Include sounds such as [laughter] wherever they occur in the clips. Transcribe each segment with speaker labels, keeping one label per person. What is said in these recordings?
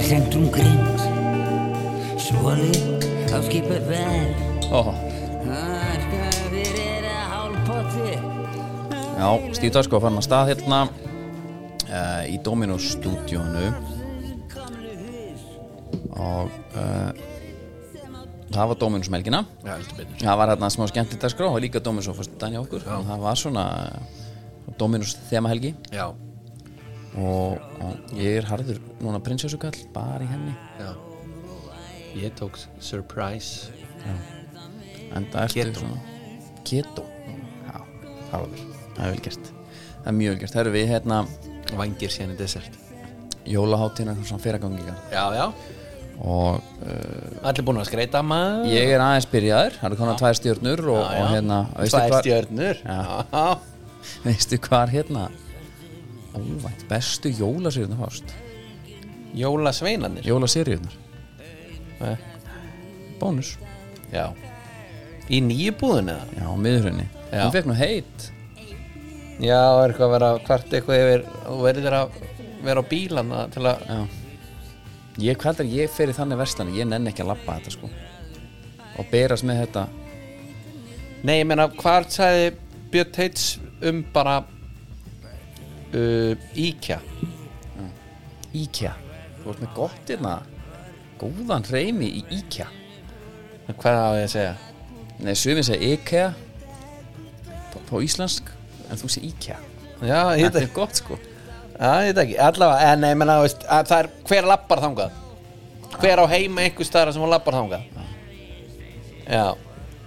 Speaker 1: centrum gríms um Svolít á skipu verð
Speaker 2: Ó,
Speaker 1: Harkaðir er að hálpotti
Speaker 2: já, Steve Dasko fann að stað hérna uh, í Domino stúdíónu og uh, það var Dominus melgina
Speaker 3: Já, heldur betur
Speaker 2: það var hérna smá skemmtileg dagskrá og líka Dominus á fyrstu daginn hjá okkur
Speaker 3: Já.
Speaker 2: og það var svona Dominus þemahelgi
Speaker 3: Já,
Speaker 2: og, og ég er harður núna prinsessukall bara í henni
Speaker 3: já Ég tók Surprise
Speaker 2: en það ertu
Speaker 3: Keto.
Speaker 2: svona keto já, harður það er vel gert það er mjög vel gert það eru við hérna
Speaker 3: Vangir síðan í dessert
Speaker 2: jólaháttina svona fyrirgangingar
Speaker 3: Já, já
Speaker 2: og
Speaker 3: Allir búin að skreita maður
Speaker 2: Ég er aðeins byrjaður, það eru konar tvær stjórnur og,
Speaker 3: Já, já.
Speaker 2: og hérna, veistu
Speaker 3: Tvær
Speaker 2: hvar,
Speaker 3: stjörnur
Speaker 2: Já.
Speaker 3: Já.
Speaker 2: veistu hvar hérna óvænt, bestu jólasýrjurnar fást,
Speaker 3: Jólasveinarnir
Speaker 2: jólasýrjurnar
Speaker 3: Eh,
Speaker 2: bónus,
Speaker 3: Já Í nýju búðinu eða?
Speaker 2: já, miðurhraunni
Speaker 3: Já.
Speaker 2: hún fekk nú heit,
Speaker 3: Já, er eitthvað að vera kvart eitthvað yfir Þú verður að vera á bílana til að
Speaker 2: já ég, hvað er, ég fer í þannig verslanu ég nenni ekki að labba þetta sko og berast með þetta
Speaker 3: Nei, ég meina, hvað sagði Björn Teits um bara uh, Íkja
Speaker 2: IKEA, þú ert með gott hérna góðan reymi í IKEA
Speaker 3: Hvað á ég að segja?
Speaker 2: nei, sumið segja IKEA på, på íslensk, en þú segir IKEA
Speaker 3: Já, ég veit
Speaker 2: þetta
Speaker 3: ekki
Speaker 2: er gott sko
Speaker 3: Já, ég veit ekki, allavega, en nei, menna, veist, að það er, hver lappar þangað? Hver á heima einhver staðar sem hún lappar þangað? Já,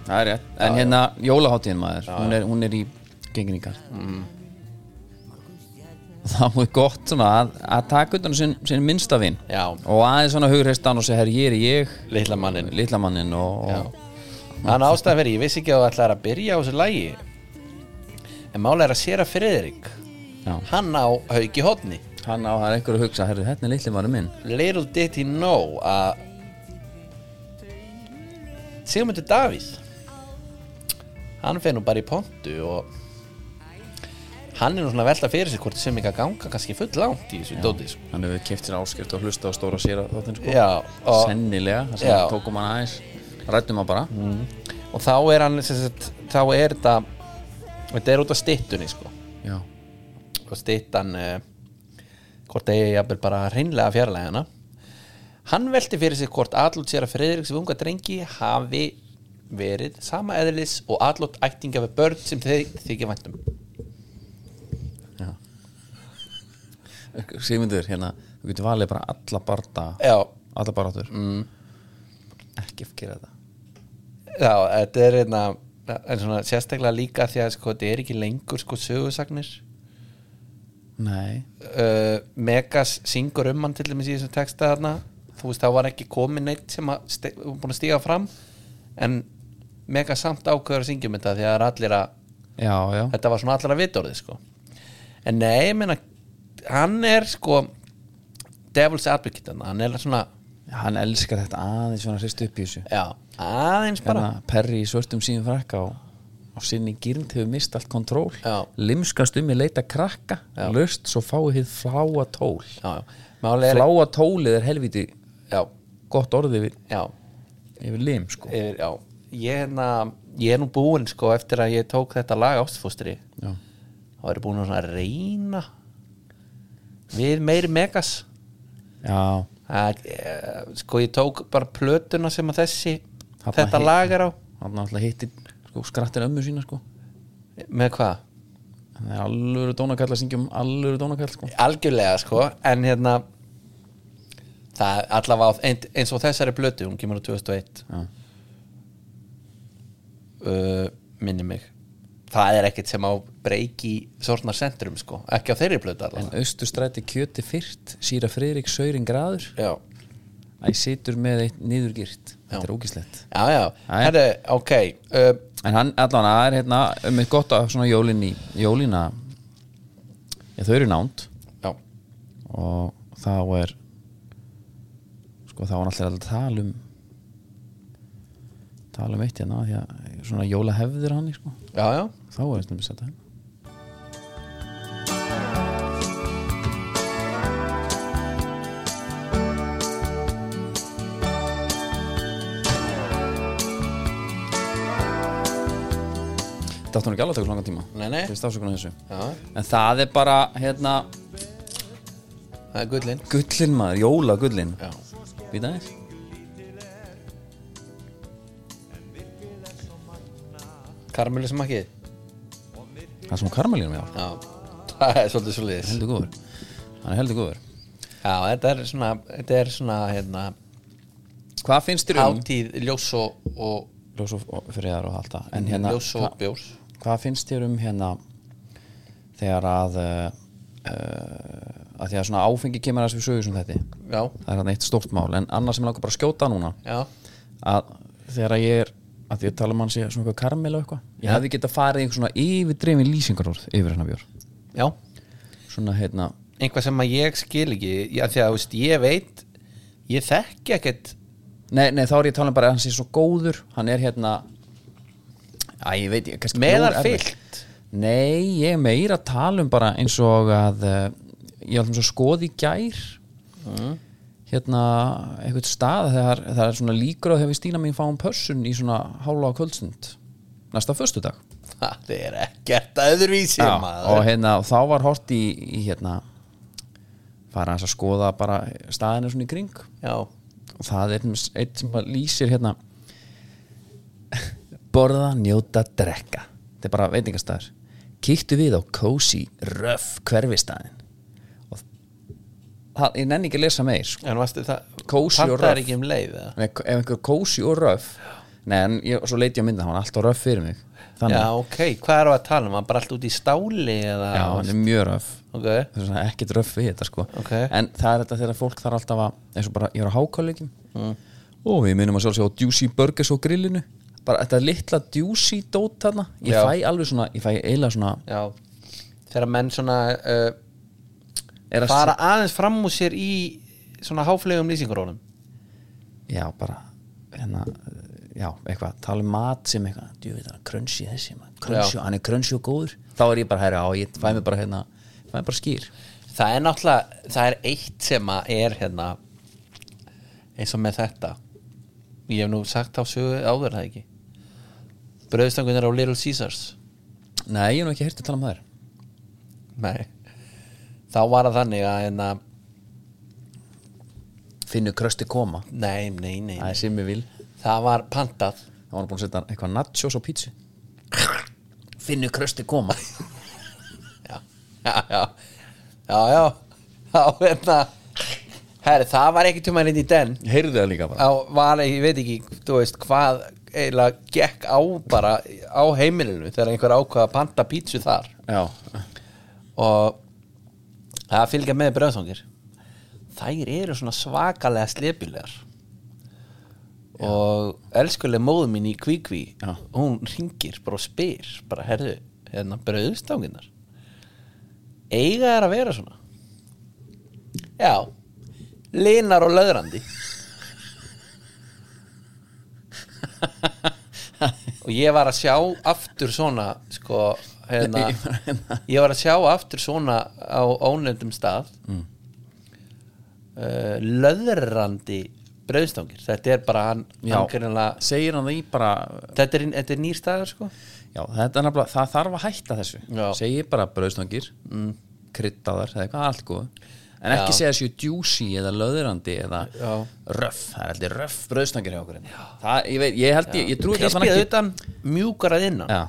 Speaker 2: Það er rétt, en hérna jólaháttíðin maður, hún, er, hún er í genginningar mm. [laughs] Það er mjög gott svona að, að taka utan á sinn, sinn minnsta vin
Speaker 3: já,
Speaker 2: og aðeins svona hugreistan og segja herri ég er ég,
Speaker 3: litla mannin
Speaker 2: litla mannin og,
Speaker 3: Já.
Speaker 2: og
Speaker 3: Þannig ástæðan verið, ég vissi ekki að þú ætlaðir að byrja á þessu lægi En mála er að séra Friðrik
Speaker 2: Já.
Speaker 3: Hann á hauki hotni
Speaker 2: hann á það er einhver að hugsa, herri þetta er litli mannin minn
Speaker 3: Little did he know að Sigmundur Davís Hann fer nú bara í pontu og Hann er nú svona að velta fyrir sig hvort sem ekki að ganga kannski full langt í þessu dóti sko.
Speaker 2: Hann hefur keft sér áskrift og hlusta á stóra sér að þáttin sko
Speaker 3: Já, og,
Speaker 2: Sennilega, það sem
Speaker 3: Já. Mm.
Speaker 2: tókum hann aðeins Rættum hann bara
Speaker 3: og þá er hann sem sagt, þá er þetta þetta er út af styttunni sko.
Speaker 2: Já,
Speaker 3: og styttan eh, hvort eigi jafnvel bara hreinlega fjarlægina hann velti fyrir sig hvort atlút sér að Friðriks við unga drengi hafi verið sama eðlis og atlút ættinga við börn sem þeir þykja væntum
Speaker 2: Sigmundur, hérna, þú getur valið bara alla barða
Speaker 3: já,
Speaker 2: Alla barðatur mm. Ekki að gera þetta
Speaker 3: já þetta er einna en svona sérstaklega líka því að sko, þetta er ekki lengur sko sögursagnir
Speaker 2: Nei
Speaker 3: uh, Megas syngur um hann til dæmis í þessum texta þarna þú veist þá var ekki komin neitt sem að ste- búin að stíga fram en Megas samt ákveður að syngjum þetta því að það er allir að
Speaker 2: Já, já
Speaker 3: þetta var svona allir að vitorði sko en nei, ég meina hann er sko devil's advocate hann, hann er svona
Speaker 2: Hann elskar þetta aðeins svona hrist upp í þessu
Speaker 3: já, aðeins bara
Speaker 2: Hérna, Perri í svörtum síðum frakka og, og sinni gyrnd hefur mist allt kontról
Speaker 3: Já.
Speaker 2: Limskast um í leita krakka
Speaker 3: Já.
Speaker 2: Löst svo fáið hið fláa tól
Speaker 3: já, já, máli er
Speaker 2: Fláa tólið er helviti
Speaker 3: já,
Speaker 2: gott orðið yfir,
Speaker 3: já,
Speaker 2: yfir lim sko
Speaker 3: yfir, já ég, hérna, ég er nú búinn sko eftir að ég tók þetta lag ástfóstri
Speaker 2: Já.
Speaker 3: þá er ég búinn að svona reyna við meiri megas
Speaker 2: Já,
Speaker 3: að, eh, sko ég tók bara plötuna sem að þessi
Speaker 2: Þarna
Speaker 3: þetta
Speaker 2: heit-
Speaker 3: lag er á
Speaker 2: hann náttúrulega hittir sko, skrattir ömmu sína sko
Speaker 3: með hvað?
Speaker 2: Það er alvöru dónakall að syngja um alvöru dónakall sko
Speaker 3: algjörlega sko en hérna það er allavega á- ein, eins og þessari blötu hún kemur á 2001
Speaker 2: Já.
Speaker 3: uh, minni mig það er ekkert sem á breyki sortnar sentrum sko, ekki á þeirri blötu
Speaker 2: En
Speaker 3: allavega
Speaker 2: austurstræti kjöti fyrt Sýra Friðrik Saurin Graður
Speaker 3: já,
Speaker 2: Æ, situr með eitt niðurgirt Þetta er ógislegt
Speaker 3: já, já,
Speaker 2: Æ.
Speaker 3: herru, ok uh,
Speaker 2: En hann allan það er hérna um eitt gott að svona jólin í jólina ja, þau eru nánd
Speaker 3: já,
Speaker 2: og þá er sko þá er hann alltaf að tala um tala um eitt hérna því að svona jólahefðir hann sko.
Speaker 3: já, já
Speaker 2: þá er þetta um að setja hérna þetta átti hún ekki alveg að taka svo langan tíma
Speaker 3: Nei, nei.
Speaker 2: Þú veist ásökun á þessu
Speaker 3: Já,
Speaker 2: en það er bara, hérna,
Speaker 3: það er gullin
Speaker 2: gullin maður, jóla gullin
Speaker 3: Já,
Speaker 2: Býta þér
Speaker 3: karmölu smakkið
Speaker 2: Það er svona karmelínum, já
Speaker 3: Já, [laughs] það er svolítið svo liðis
Speaker 2: Heldur góður Hann er heldur góður
Speaker 3: Já, þetta er svona, þetta er svona hérna,
Speaker 2: Hvað finnst þér um
Speaker 3: hátíð ljós og, og
Speaker 2: Ljós og og friðar og allt það En hérna,
Speaker 3: ljós og bjórs
Speaker 2: hvað finnst þér um hérna Þegar að uh, uh, að Því að svona áfengi kemur að þessu sögur sem þetta
Speaker 3: Já,
Speaker 2: Það er hann eitt stórt mál En annars sem ég langar bara að skjóta núna
Speaker 3: já,
Speaker 2: að Þegar að ég er að því að tala um hann sé svona eitthvað karmel og eitthvað Ég hefði getað farið í einhver svona yfirdreifin lýsingarorð Yfir hennar bjór
Speaker 3: já
Speaker 2: Svona hérna
Speaker 3: Einhvað sem að ég skil ekki já, Því að þú veist, ég veit Ég þekki ekkert
Speaker 2: Nei, nei, þá er ég að tala um bara að hann sé svo góður Hann er hérna Æ, ég veit, ég kannski
Speaker 3: meðarfyllt
Speaker 2: Nei, ég er meira að tala um bara eins og að eh, Ég ætlum svo skoði í gær Hérna, einhvern stað Þegar það er svona líkur að hefur Stína mín fáum pössun í svona hálfa og kvöldsund Næsta föstudag
Speaker 3: Það er ekkert öðruvísi
Speaker 2: Og
Speaker 3: maður
Speaker 2: hérna, og þá var hort í, í hérna Fara hans að skoða bara staðinu svona í kring
Speaker 3: Já,
Speaker 2: og það er einmitt eitt sem að lýsir hérna borða, njóta, drekka þetta er bara veitingastæður kíktu við á cozy, röf hverfistæðin og það, ég nenni ekki að lesa meir sko.
Speaker 3: en varstu það
Speaker 2: Kósí og
Speaker 3: pantaðir
Speaker 2: röff.
Speaker 3: ekki um leið eða?
Speaker 2: En ef ef einhver cozy og röf nei, en ég, svo leiti ég á mynda, hann var alltaf röf fyrir mig þannig,
Speaker 3: Já, ok, hvað er að tala um? Var bara allt út í stáli eða
Speaker 2: já, hann er mjög röf
Speaker 3: Ok,
Speaker 2: það er svona ekkert röf við þetta sko
Speaker 3: Ok.
Speaker 2: en það er þetta þegar fólk þarf alltaf að eins og bara, ég er á hákáleikim mm. og við minnum að sjálfsög á Juicy Burgers og grillinu bara þetta litla Juicy dót þarna, ég
Speaker 3: Já.
Speaker 2: fæ alveg svona ég fæ eiginlega svona
Speaker 3: já Þegar menn svona uh,
Speaker 2: er að
Speaker 3: fara aðeins fram úr sér í svona háflegum lýsingurónum
Speaker 2: já, bara hérna, já, eitthvað, tala um mat sem eitthvað, djú veit það, krönsi þessi maður, krönsi,
Speaker 3: Já.
Speaker 2: hann er krönsi og góður þá er ég bara, herra, á, ég fæ mig bara hérna fæ mig bara skýr
Speaker 3: Það er náttúrulega, það er eitt sem að er hérna eins og með þetta Ég hef nú sagt á sögu áður er það ekki Bröðstangunar á Little Caesars
Speaker 2: nei, ég hef nú ekki heyrt að tala um þær
Speaker 3: Nei Þá var það þannig að hérna
Speaker 2: finnur krösti koma,
Speaker 3: Nei, nei, nei,
Speaker 2: það
Speaker 3: nei.
Speaker 2: er sem ég vil
Speaker 3: Það var pantað [laughs]
Speaker 2: Það var búin að setja eitthvað nachos og pítsu Finnu krösti koma
Speaker 3: Já, já, já Já, já, já, hérna Herri, það var ekki tjóma inn í den
Speaker 2: Ég heyrði það líka bara
Speaker 3: á, var, ég veit ekki, þú veist hvað eiginlega gekk á bara á heimilinu þegar einhver ákvað að panta pítsu þar
Speaker 2: Já,
Speaker 3: og það fylgja með bröðsangir þær eru svona svakalega slepilegar og elskuleg móðu mín í kvíkví
Speaker 2: Já.
Speaker 3: hún ringir bara og spyr bara herðu, hérna bröðstanginnar eiga þær að vera svona já linar og löðrandi og ég var að sjá aftur svona sko hérna,
Speaker 2: Ég var hérna-
Speaker 3: ég var að sjá aftur svona á ónefndum stað mm. löðrandi brauðstangir þetta er bara hann,
Speaker 2: Já.
Speaker 3: hann greinilega-
Speaker 2: segir hann það í bara
Speaker 3: þetta er, þetta er nýr staður sko
Speaker 2: Já, þetta er nefnilega, það þarf að hætta þessu
Speaker 3: Já.
Speaker 2: Segir bara brauðstangir mm. Kryddaðar, eða eitthvað allt góð En ekki segja þessu juicy eða löðurandi eða
Speaker 3: Já.
Speaker 2: röff, það er aldrei röff brauðstangir hjá okkur hérna. það, ég, veit, ég held ég, ég trú ekki að
Speaker 3: krispið
Speaker 2: það ekki
Speaker 3: utan mjúkar að innan
Speaker 2: Já,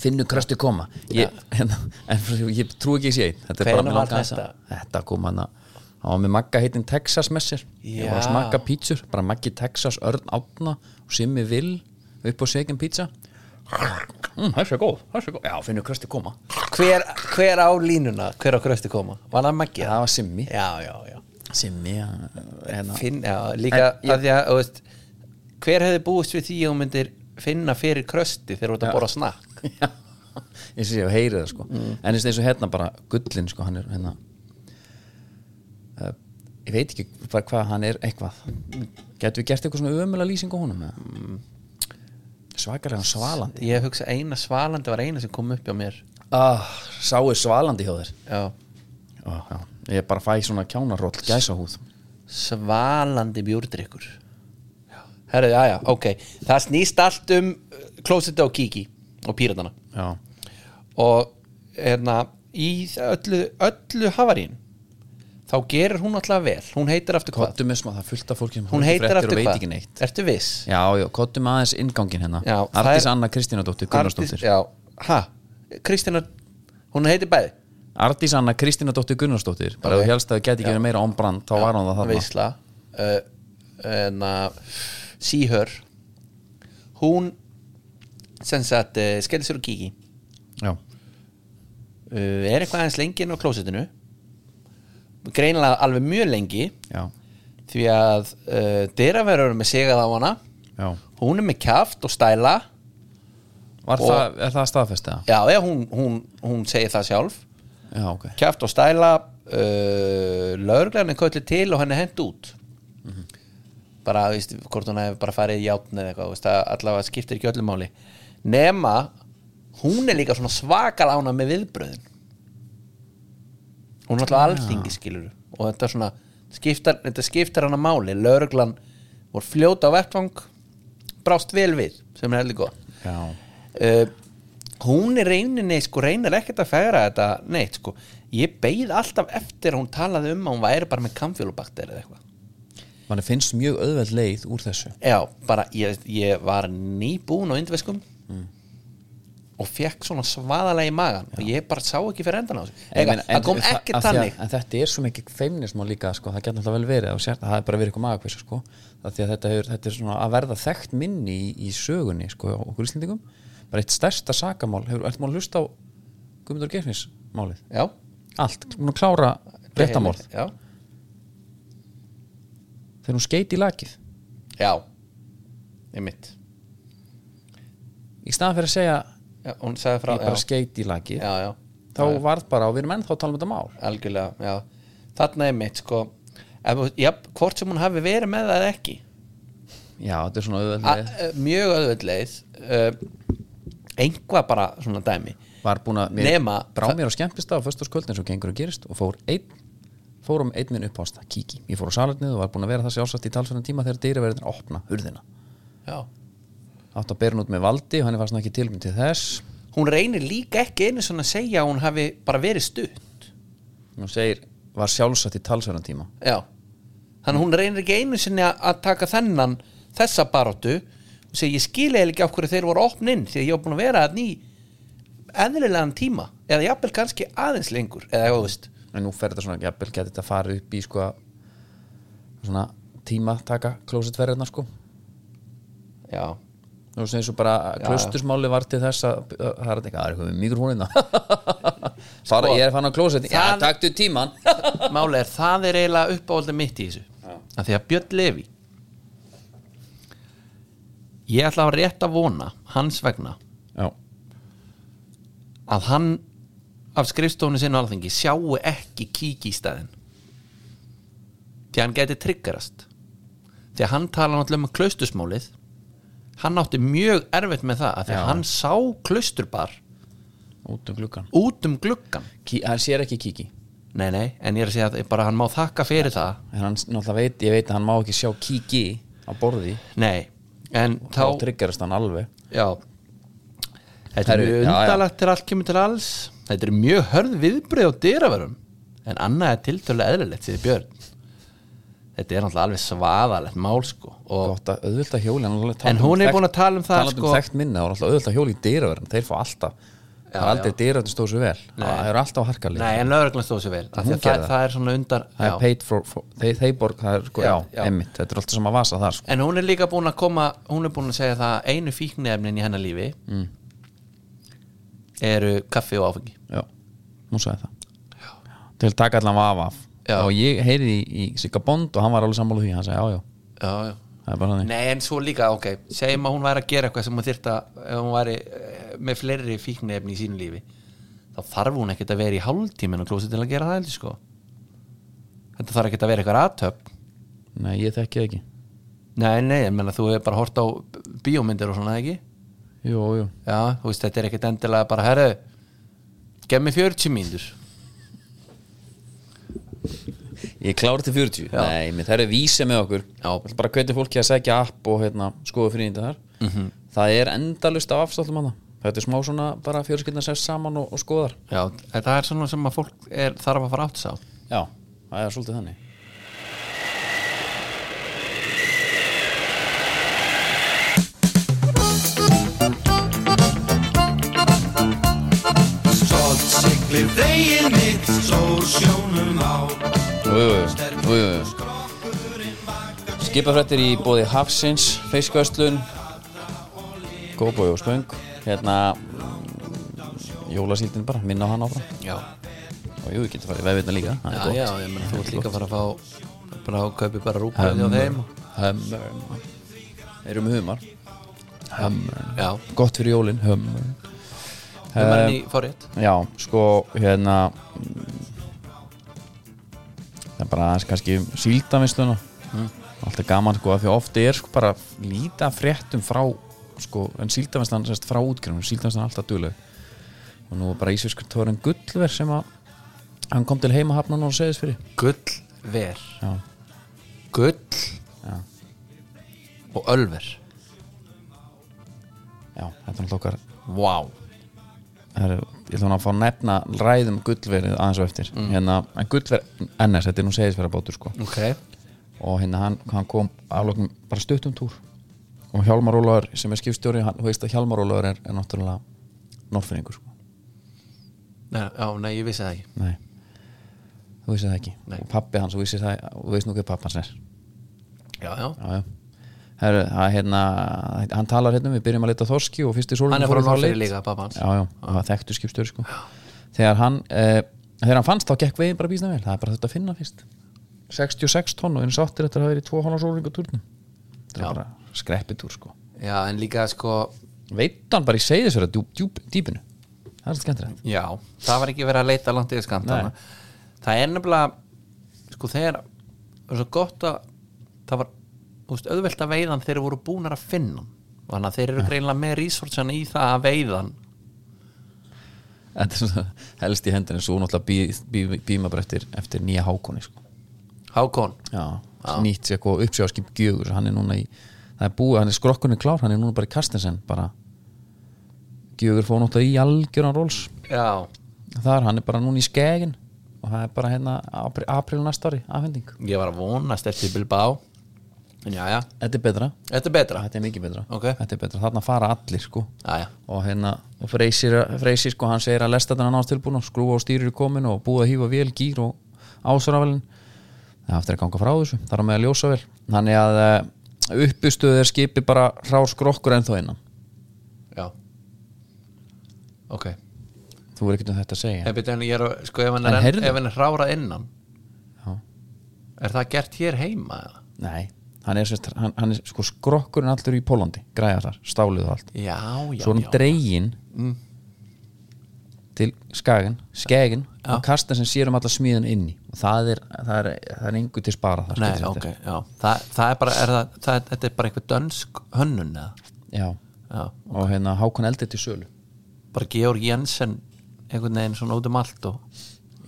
Speaker 2: finnu krösti koma [laughs] ég, en, en ég trú ekki að sé einn þetta er
Speaker 3: Hvenær
Speaker 2: bara mér
Speaker 3: var
Speaker 2: langar þess að
Speaker 3: þetta?
Speaker 2: þetta kom hann að hann var með Magga heitin Texas messir ég var að
Speaker 3: Já.
Speaker 2: smakka pítsur, bara Maggi Texas Örn Átna og Simmi Vill upp á segin pítsa mm, það er svo góð, það er svo góð já, finnu krösti koma,
Speaker 3: hver, hver á línuna, hver á krösti koma var það maggi?
Speaker 2: það var Simmi
Speaker 3: já, já, já,
Speaker 2: Simmi, hann- hérna
Speaker 3: Finn, já líka
Speaker 2: En ég-
Speaker 3: af því að, þú veist, hver hefði búist við því að hún myndir finna fyrir krösti þegar þú ert að borra snakk
Speaker 2: Já, eins og ég hef heyrið það sko
Speaker 3: Mm.
Speaker 2: en eins og- eins og hérna bara gullin sko hann er hérna uh, ég veit ekki bara hvað hann er eitthvað getur við gert eitthvað svona ömulega lýsing á honum eða?
Speaker 3: Mm.
Speaker 2: svakalega svalandi
Speaker 3: ég hugsa eina svalandi var eina sem kom upp hjá mér
Speaker 2: ah, sáu svalandi hjá þér
Speaker 3: já
Speaker 2: ah, já. ég bara fæ svona kjánarroll gæsa húð
Speaker 3: svalandi bjúrdrykkur herru, já, já, ok það snýst allt um klósita uh, og kíki og píratana
Speaker 2: já,
Speaker 3: og hérna í öllu, öllu havarín þá gerir hún alltaf vel hún heitir aftur hvað
Speaker 2: kottum með smá, það er fullt af fólki sem
Speaker 3: hún
Speaker 2: horfir
Speaker 3: heitir
Speaker 2: fréttir
Speaker 3: aftur
Speaker 2: og veit
Speaker 3: hvað,
Speaker 2: ekki neitt
Speaker 3: ertu viss
Speaker 2: já, já, kottum aðeins inngangin hérna
Speaker 3: Já, það
Speaker 2: Artis
Speaker 3: er-
Speaker 2: Anna Kristínadóttir Gunnarsdóttir
Speaker 3: Arndís- já, ha, Kristina hún heitir bæði
Speaker 2: Artis Anna Kristínadóttir Gunnarsdóttir bara
Speaker 3: Ok.
Speaker 2: ef þú helst að það geti ekki verið meira ombrand þá var hún það þarna
Speaker 3: veisla uh, en að síhör hún sem sagt uh, skellir sér og kíki
Speaker 2: já,
Speaker 3: uh, er eitthvað aðeins lengi inn á klósitinu greinilega alveg mjög lengi
Speaker 2: já,
Speaker 3: því að uh, dyraverður er með sigað á hana
Speaker 2: já
Speaker 3: hún er með kjaft og stæla
Speaker 2: Var
Speaker 3: Og-
Speaker 2: það, er það staðfest eða?
Speaker 3: já, já hún, hún, hún segir það sjálf
Speaker 2: Já, ok
Speaker 3: kjaft og stæla uh, lögreglan er köllu til og henni hent út bara, þú veist, hvort hún hefði bara farið í játn eða eitthvað, þú veist, að allavega skiptir ekki öllum máli nema hún er líka svona svakal ána með viðbröðin hún er alltaf alþingi skilur og þetta er svona, skiptar, þetta skiptar hana máli, lögreglan voru fljóta á vettvang brást vel við, sem er heldur gott
Speaker 2: Já,
Speaker 3: uh, hún er reyninni sko reynir ekkert að fegra þetta neitt sko ég beið alltaf eftir að hún talaði um að hún væri bara með kamfjólubakter eða eitthvað
Speaker 2: manni finnst mjög auðveld leið úr þessu
Speaker 3: já, bara ég, ég var nýbúin á indveskum
Speaker 2: Mm.
Speaker 3: og fekk svona svaðalega í magan og ég bara sá ekki fyrir endan á þessu
Speaker 2: En ég
Speaker 3: Ega,
Speaker 2: meina, en
Speaker 3: það kom
Speaker 2: þa-
Speaker 3: ekki
Speaker 2: af því að-
Speaker 3: þannig
Speaker 2: En þetta er svo mikið feimnism og líka, sko, það getur alltaf vel verið og sér, það er bara verið eitthvað magakvisa, sko það því að þetta, hefur, þetta er svona að verða þekkt minni í, í sögunni, sko, á okkur íslendingum bara eitt stærsta sakamál, hefur allt mál hlusta á Guðmundur Geirfinns málið
Speaker 3: já,
Speaker 2: allt, hún að klára brettamorð
Speaker 3: já,
Speaker 2: þegar hún skeiti í lakið
Speaker 3: já, einmitt
Speaker 2: í staðan fyrir að segja,
Speaker 3: já, hún sagði frá
Speaker 2: ég bara
Speaker 3: já,
Speaker 2: skeiti í lakið
Speaker 3: já, já,
Speaker 2: þá varð bara, og við erum ennþá að tala um þetta mál
Speaker 3: algjörlega já. þarna er mitt sko ef, já, hvort sem hún hafi verið með það eða ekki
Speaker 2: Já, þetta er svona
Speaker 3: A-
Speaker 2: auðvöldlega
Speaker 3: eh, mjög auðvöld leið uh, einhvað bara svona dæmi
Speaker 2: Var búin að,
Speaker 3: Nema-
Speaker 2: brá mér á skemmtista á föstaskvöldin eins og gengur og gerist og fór einn fórum einn minn upp ásta, kíki Ég fór á salernið og var búin að vera það sjálfsagt í talsverðan tíma þegar dýraverðin opna hurðina
Speaker 3: já.
Speaker 2: Átt að bera hún út með valdi og henni var svona ekki tilmynd til þess
Speaker 3: hún reynir líka ekki einu svona að segja að hún hafi bara verið stutt
Speaker 2: Hún segir, var sjálfsagt í talsverðan tíma
Speaker 3: já þannig að hún reynir ekki einu sinni að- að taka þennan þessa baróttu og segja ég skil eða ekki af hverju þeir voru opn inn því að ég var búin að vera að ný eðlilegan tíma eða jafnvel kannski aðeins lengur eða ég veist
Speaker 2: En nú fer þetta svona, jafnvel geti þetta farið upp í sko að- svona tíma taka klósitverðina sko
Speaker 3: já
Speaker 2: Nú sem eins og bara klóstusmáli var til þess að að- það er eitthvað, það er eitthvað við mikrofónina Fara,
Speaker 3: [laughs] Sko,
Speaker 2: ég er fann á klósitin Já,
Speaker 3: það-
Speaker 2: taktu tíman
Speaker 3: Máli er, það er eiginlega uppáhaldið mitt í þessu að því að Björn Levi ég ætla að rétt að vona hans vegna
Speaker 2: Já,
Speaker 3: að hann af skrifstofunni sinna alþingi sjáu ekki kíki í staðinn því að hann geti triggerast því að hann tala náttúrulega um klaustusmálið hann átti mjög erfitt með það að því að
Speaker 2: Já.
Speaker 3: hann sá klausturbar
Speaker 2: út um gluggan
Speaker 3: út um gluggan
Speaker 2: Kí, hann sér ekki kíki
Speaker 3: nei nei, en ég er að segja að bara hann má þakka fyrir það
Speaker 2: en hann s- náttúrulega veit, ég veit að hann má ekki sjá kíki á borði,
Speaker 3: nei, en
Speaker 2: þá
Speaker 3: þá
Speaker 2: tryggarast hann alveg
Speaker 3: Já Þetta er
Speaker 2: Herru,
Speaker 3: mjög
Speaker 2: já, já.
Speaker 3: undalagt til allt kemur til alls Þetta er mjög hörð viðbrið á dyraverum En annað er tiltölulega eðlilegt Sýði Björn Þetta er náttúrulega alveg svaðalegt mál sko Og
Speaker 2: gott að auðvölda hjóli hann alveg
Speaker 3: En
Speaker 2: talandi
Speaker 3: hún er
Speaker 2: þekkt-
Speaker 3: búin að tala um það,
Speaker 2: talandi
Speaker 3: sko.
Speaker 2: um þekkt minna, hún er alltaf auðvölda hjóli í dýraverðin þeir fá alltaf, það er aldrei dýraverðin stóð svo vel það eru alltaf á harkalið
Speaker 3: Nei, en lögreglan stóð sér vel af því
Speaker 2: Hún
Speaker 3: að það,
Speaker 2: gerði það.
Speaker 3: það er svona undar
Speaker 2: það
Speaker 3: já.
Speaker 2: er paid for, for þeir, þeir borg, það er sko, já,
Speaker 3: Já, já.
Speaker 2: emmitt þetta er alltaf sama vasa þar, sko
Speaker 3: En hún er líka búin að koma Hún er búin að segja það að Einu fíknefnin í hennar lífi Eru kaffi og áfengi
Speaker 2: já, hún sagði það til að taka allan vafa af
Speaker 3: Já.
Speaker 2: og ég heyrið í, í Sigga Bond og hann var alveg sammála því, hann sagði, já, já,
Speaker 3: Já, já
Speaker 2: það er bara þannig
Speaker 3: Nei, en svo líka, ok, segjum að hún væri að gera eitthvað sem hún þyrft að, ef hún væri eh, með fleiri fíknefni í sínu lífi þá þarf hún ekkert að vera í hálftímin og klósi til að gera það heldur sko þetta þarf ekkert að vera eitthvað aðtöp
Speaker 2: nei, ég þekki það ekki,
Speaker 3: Nei, nei, ég menna þú hefur bara hort á bíómyndir og svona, ekki?
Speaker 2: jú, jú
Speaker 3: Já, þú veist, þetta er ekkert endilega bara, herru gef mér 40 mínútur
Speaker 2: Ég klára til 40
Speaker 3: Já.
Speaker 2: Nei, menn, það eru vísi með okkur
Speaker 3: Já.
Speaker 2: Ég ætla bara Mhm. að hvetja fólki að segja app og hérna, skoða fyrir þetta þar -hmm. Það er endalust af afsáttum hana þetta er smá svona bara fjölskyldna sest saman og, og skoðar
Speaker 3: Já, það er svona sem að fólk er, þarf að fara átt sá
Speaker 2: já, það er svolítið þannig
Speaker 4: Stolt siglir veginn mitt Svo sjónum á
Speaker 2: Jú, jú, jú, jú, jú. Skipafrættir í bóði Hafsins, Fiskvöslun Góbói og Spöng Hérna mm, Jólasíldin bara, minna á hann áfram
Speaker 3: Já,
Speaker 2: Og jú, við getum farið í vefirna líka það
Speaker 3: já,
Speaker 2: er gott.
Speaker 3: já, ég meina þú ert líka að fara að fá bara að kaupi bara rúpaði á þeim
Speaker 2: Hummer, hummer Erum við humar Hummer
Speaker 3: Já,
Speaker 2: Gott fyrir jólin, hummer
Speaker 3: við mann í forrétt
Speaker 2: Já, sko, hérna mm, Það er bara aðeins kannski um síldavinsluna Alltaf gaman, sko, af því að ofti er sko bara líta fréttum frá sko, en síldavinslan sérst frá útgrunum síldavinslan er alltaf duðleg og nú var bara ísverskur Tórin Gullver sem að hann kom til heimahafnan og segðis fyrir
Speaker 3: Gull ver
Speaker 2: Já,
Speaker 3: Gull og ölver
Speaker 2: já, þetta er alltaf okkar
Speaker 3: Vá wow.
Speaker 2: Heru, ég ætla hún að fá að nefna ræðum gullverið aðeins og eftir hérna, en gullverið NS, þetta er nú segðisverða bátur sko.
Speaker 3: Ok
Speaker 2: og hérna hann, hann kom aflokum bara stuttum túr og Hjálmar Ólafur sem er skipstjóri hann, þú veist að Hjálmar Ólafur er, er náttúrulega norfinningur sko.
Speaker 3: Nei, Já, nei, ég vissi það ekki
Speaker 2: nei, þú veist það ekki
Speaker 3: Nei.
Speaker 2: og pappi hans, þú veist það og þú veist nú hver pappi hans er
Speaker 3: Já, já
Speaker 2: já, já. Heru, að, hérna, hann talar hérna, við byrjum að leta þorski og fyrst í sólum
Speaker 3: Hann er frá Norfyrir líka, pappa hans
Speaker 2: já, já, það var þekktu skipstjóri sko. þegar hann eh, þegar hann fannst þá gekk veginn bara býsna vel það er bara þetta að finna fyrst 66 tonn og eins áttir þetta að hafa verið 2 hónar sólring á túrnum þetta
Speaker 3: Já.
Speaker 2: er bara skreppitúr sko
Speaker 3: Já, en líka sko
Speaker 2: veit hann bara í segðisverða djúp, djúp, dýpinu það er skemmtilegt
Speaker 3: Já, það var ekki verið að leita langt yfir skamtana Það er nefnilega sko þegar það var svo gott að það var úst, auðvelt að veiðan þeir voru búnar að finna hann. þannig að þeir eru greinlega með resursana í það að veiðan
Speaker 2: þetta er svona helst í hendinu svo náttúrulega bí, bí, býma bara eftir, eftir nýja hákoni sko.
Speaker 3: Hákon
Speaker 2: já, nýtt sér eitthvað uppsjáskip gjögur hann er núna í, það er búið, hann er skrokkunni klár hann er núna bara í kastinsen bara gjögur fóð náttúrulega í algjöran róls
Speaker 3: Já,
Speaker 2: þar, hann er bara núna í skegin og það er bara hérna apr- april næsta ári afhending,
Speaker 3: ég var að vonast eftir Bilbao en já, já,
Speaker 2: þetta er betra
Speaker 3: þetta er betra
Speaker 2: þetta er mikið betra,
Speaker 3: Ok.
Speaker 2: þetta er betra, þarna fara allir sko
Speaker 3: Já, já,
Speaker 2: og hérna og Freysir, Freysir sko hann segir að lesta þennan ástilbúin og skrúa á stýrir í komin og búið að hýfa vél, gýr og ásravelin það aftur að ganga frá þessu, þar á með að ljósa vel þannig að eh, uppistuð er skipi bara hrár skrokkur ennþá innan
Speaker 3: já Ok,
Speaker 2: þú er ekkert um þetta að segja
Speaker 3: en byrja hann ég er að sko ef hann
Speaker 2: En
Speaker 3: er,
Speaker 2: heyrðu.
Speaker 3: enn, ef hann er hrára innan
Speaker 2: Já.
Speaker 3: er það gert hér heima eða?
Speaker 2: nei, hann er, sérst, hann, hann er sko skrokkurinn allur í Pólandi, græða þar, stálið og allt
Speaker 3: Já, já, Mm.
Speaker 2: svo er hann
Speaker 3: já
Speaker 2: dregin til skagan, skegin og kasta sem sér um alla smíðan inni og það er, það er, það er engu til spara það
Speaker 3: Nei,
Speaker 2: skilur þetta.
Speaker 3: ok, já Þa, Það er bara, er það, það, er- þetta er bara einhver dönsk hönnun eða
Speaker 2: já
Speaker 3: Já,
Speaker 2: og hérna Hákon Eldið til sölu
Speaker 3: bara Georg Jensen einhvern veginn svona út um allt og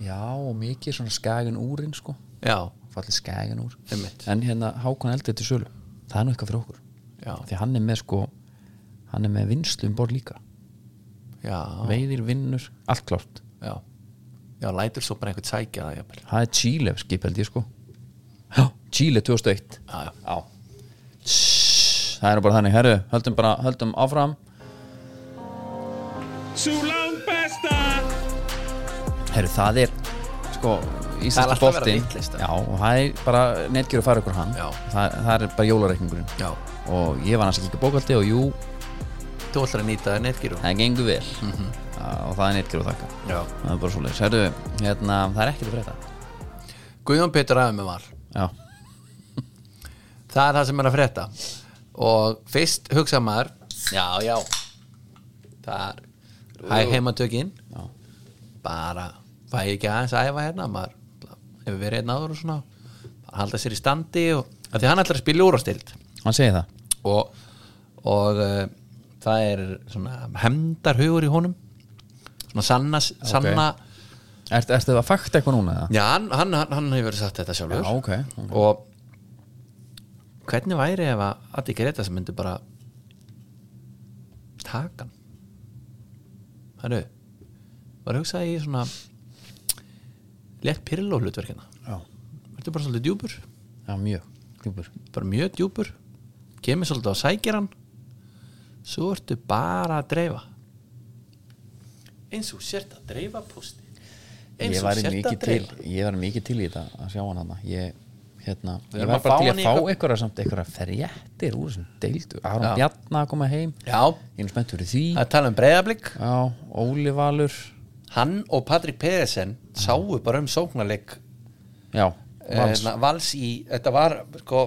Speaker 2: já og mikið svona skagin úrin sko
Speaker 3: Já,
Speaker 2: fallið skagin úr
Speaker 3: Einmitt.
Speaker 2: en hérna Hákon Eldið til sölu það er nú eitthvað fyrir okkur
Speaker 3: já,
Speaker 2: því hann er með sko hann er með vinslu um borð líka
Speaker 3: já,
Speaker 2: veiðir, vinnur, allt klárt
Speaker 3: já Já, lætur svo bara einhvern sækja það jafnvel.
Speaker 2: það er Chile skip held ég sko já, Chile 2001
Speaker 3: Já, já,
Speaker 2: já það er nú bara þannig, herru, höldum bara höldum áfram
Speaker 5: Sú langt besta
Speaker 2: herru, það er sko
Speaker 3: Það er
Speaker 2: Íslandska
Speaker 3: alltaf að vera
Speaker 2: boltinn
Speaker 3: vitleysa.
Speaker 2: já, og það er bara netgjur að fara ykkur hann
Speaker 3: Já.
Speaker 2: það, það er bara jólareikningurinn
Speaker 3: já
Speaker 2: og ég var næst að kíka bókaldi og jú,
Speaker 3: Þú ætlar að nýta það netgiru
Speaker 2: það gengur vel
Speaker 3: Mhm.
Speaker 2: og það er neittgjur að þakka
Speaker 3: Já
Speaker 2: það er bara svo leys, herru, hérna, það er ekkert að breyta
Speaker 3: Guðjón Pétur aðeins með var
Speaker 2: já,
Speaker 3: Það er það sem er að frétta Og fyrst hugsa maður Já, já Það er hæ heimatökin
Speaker 2: já,
Speaker 3: bara fæ ég ekki aðeins að æfa hérna maður hefur verið einn áður og svona bara halda sér í standi og af því hann ætlar að spila úrastild
Speaker 2: hann segi það
Speaker 3: og, og uh, það er svona hemdarhugur í honum svona sanna, sanna
Speaker 2: Ert, ertu það að fakta eitthvað núna eða?
Speaker 3: já, hann, hann, hann, hann hefur verið sagt þetta sjálfur
Speaker 2: ok
Speaker 3: og hvernig væri ef að Adi Greta sem myndi bara taka hann Hæru, var að hugsa í svona létt pyrrló hlutverkina
Speaker 2: Já.
Speaker 3: Vertu bara svolítið djúpur
Speaker 2: Já, mjög djúpur
Speaker 3: bara mjög djúpur kemur svolítið á sækjaran svo ertu bara að dreifa eins og sért að dreifa pústi
Speaker 2: Ég var mikið til, ég var mikið til í þetta að sjá hann hana Ég, hérna,
Speaker 3: Við
Speaker 2: ég
Speaker 3: erum
Speaker 2: var
Speaker 3: að fá
Speaker 2: bara til að
Speaker 3: hann í
Speaker 2: fá
Speaker 3: eitthvað-
Speaker 2: einhverja samt einhverja ferjættir úr þessum deildu
Speaker 3: Já.
Speaker 2: Aron Bjarna að koma heim
Speaker 3: já,
Speaker 2: Ég er nú spenntur í því
Speaker 3: það er tala um breyðablík
Speaker 2: Já, Óli Valur
Speaker 3: hann og Patrik Pedersen sáu bara um sóknarleik
Speaker 2: Já, Vals
Speaker 3: vals. vals í, þetta var sko,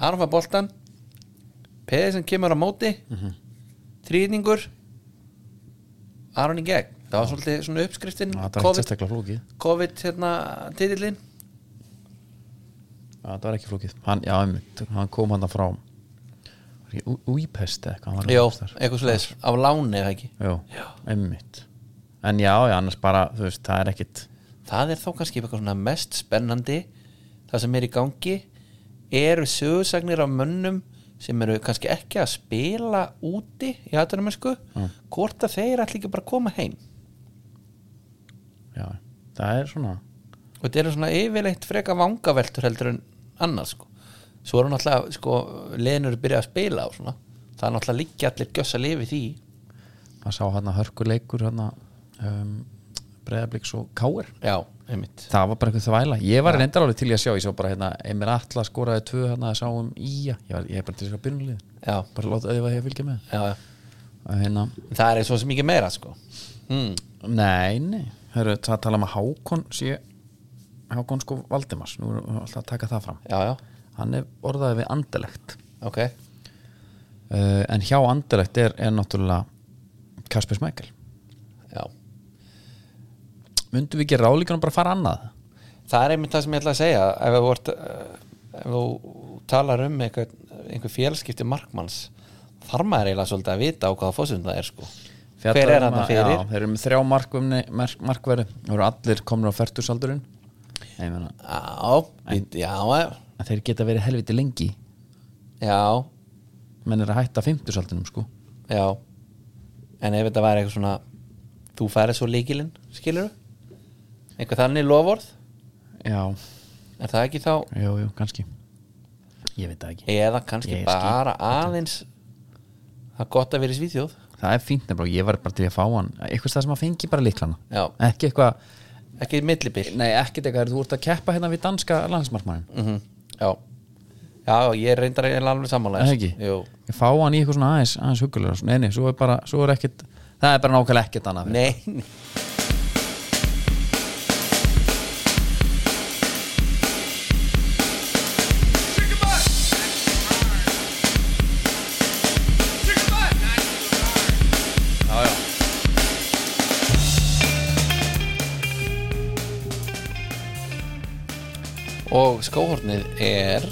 Speaker 3: Arfa boltan Pedersen kemur á móti mm
Speaker 2: Mhm.
Speaker 3: -hmm. þrýningur Aron í gegn það var svolítið svona uppskriftin
Speaker 2: Já, Þetta var ekki
Speaker 3: COVID,
Speaker 2: sérstaklega flókið Já,
Speaker 3: COVID hérna, titillin
Speaker 2: Þetta var ekki flókið hann, Já, einmitt, hann kom hann frá var í Ú- Úpest eða eitthvað hann var
Speaker 3: Jó,
Speaker 2: einhvers staðar.
Speaker 3: eitthvað sliðis, af láni eða ekki
Speaker 2: Jó, einmitt En já, já, annars bara, þú veist, það er ekkit
Speaker 3: Það er þá kannski eitthvað svona mest spennandi Það sem er í gangi Eru sögursagnir af mönnum sem eru kannski ekki að spila úti í aðdunumensku hvort að þeir ætli ekki bara að koma heim
Speaker 2: Já, það er svona
Speaker 3: og þetta eru svona yfirleitt freka vangaveltur heldur en annars sko. svo eru náttúrulega sko, leðinur að byrja að spila og svona það er náttúrulega líkja allir gjöss að lifi því
Speaker 2: maður sá hann að hörkuleikur hann að um, breyðabliks og káir
Speaker 3: Já, einmitt
Speaker 2: það var bara einhver þvæla, ég var reyndar alveg til í að sjá ég sá bara hérna, Emir Atla skoraði tvö hérna, hann að sáum í, um ég var ég er bara til að sjá byrjunlið
Speaker 3: Já,
Speaker 2: bara láta þau að ég fylgja með
Speaker 3: já, já
Speaker 2: að hérna,
Speaker 3: Það er svo sem ekki meira sko mm.
Speaker 2: nei, nei Hörru, það tala um að Hákon sé Hákon sko Valdimars, nú erum við alltaf að taka það fram
Speaker 3: Já, já,
Speaker 2: hann er orðaði við andelegt
Speaker 3: ok
Speaker 2: uh, en hjá andelegt er, er náttúrulega Kasper Smækkel
Speaker 3: Já
Speaker 2: myndum við ekki ráðlíkanum bara fara annað
Speaker 3: það er einmitt það sem ég ætla að segja ef þú, vart, eh, ef þú talar um einhver, einhver félskipti markmanns þarf maður eiginlega svolítið að vita á hvaða fósum það er sko
Speaker 2: Fjallar
Speaker 3: hver er
Speaker 2: um
Speaker 3: hann
Speaker 2: að-
Speaker 3: fyrir
Speaker 2: Já, þeir eru með þrjá markverði mark, markverði og eru allir komin á færtusaldurinn Ég meina,
Speaker 3: já, bít- já, eh,
Speaker 2: að þeir geta verið helviti lengi
Speaker 3: já,
Speaker 2: menn eru að hætta fymtusaldinum sko
Speaker 3: já en ef þetta væri eitthvað svona þú færi svo líkilinn, skilur einhver þannig lofórð
Speaker 2: Já,
Speaker 3: er það ekki þá
Speaker 2: jú, jú, kannski Ég veit það ekki
Speaker 3: eða kannski
Speaker 2: Ég skil.
Speaker 3: bara aðeins það er gott að vera í Svíþjóð
Speaker 2: Það er fínt nefnilega, ég var bara til að fá hann eitthvað það sem að fengi bara líklana
Speaker 3: Já.
Speaker 2: Ekki eitthvað,
Speaker 3: ekki millibill
Speaker 2: nei ekkert eitthvað þú ert að keppa hérna við danska landsmarkmannin
Speaker 3: -hmm. Já Já, ég er reyndar eiginlega alveg sammála
Speaker 2: Það ekki?
Speaker 3: Jú.
Speaker 2: Ég fá hann í eitthvað svona aðeins, aðeins huggulega Nei, nei, svo er bara, svo er ekkert Það er bara nákvæmlega ekkert annað fyrir.
Speaker 3: Nei, nei. og skóhornið er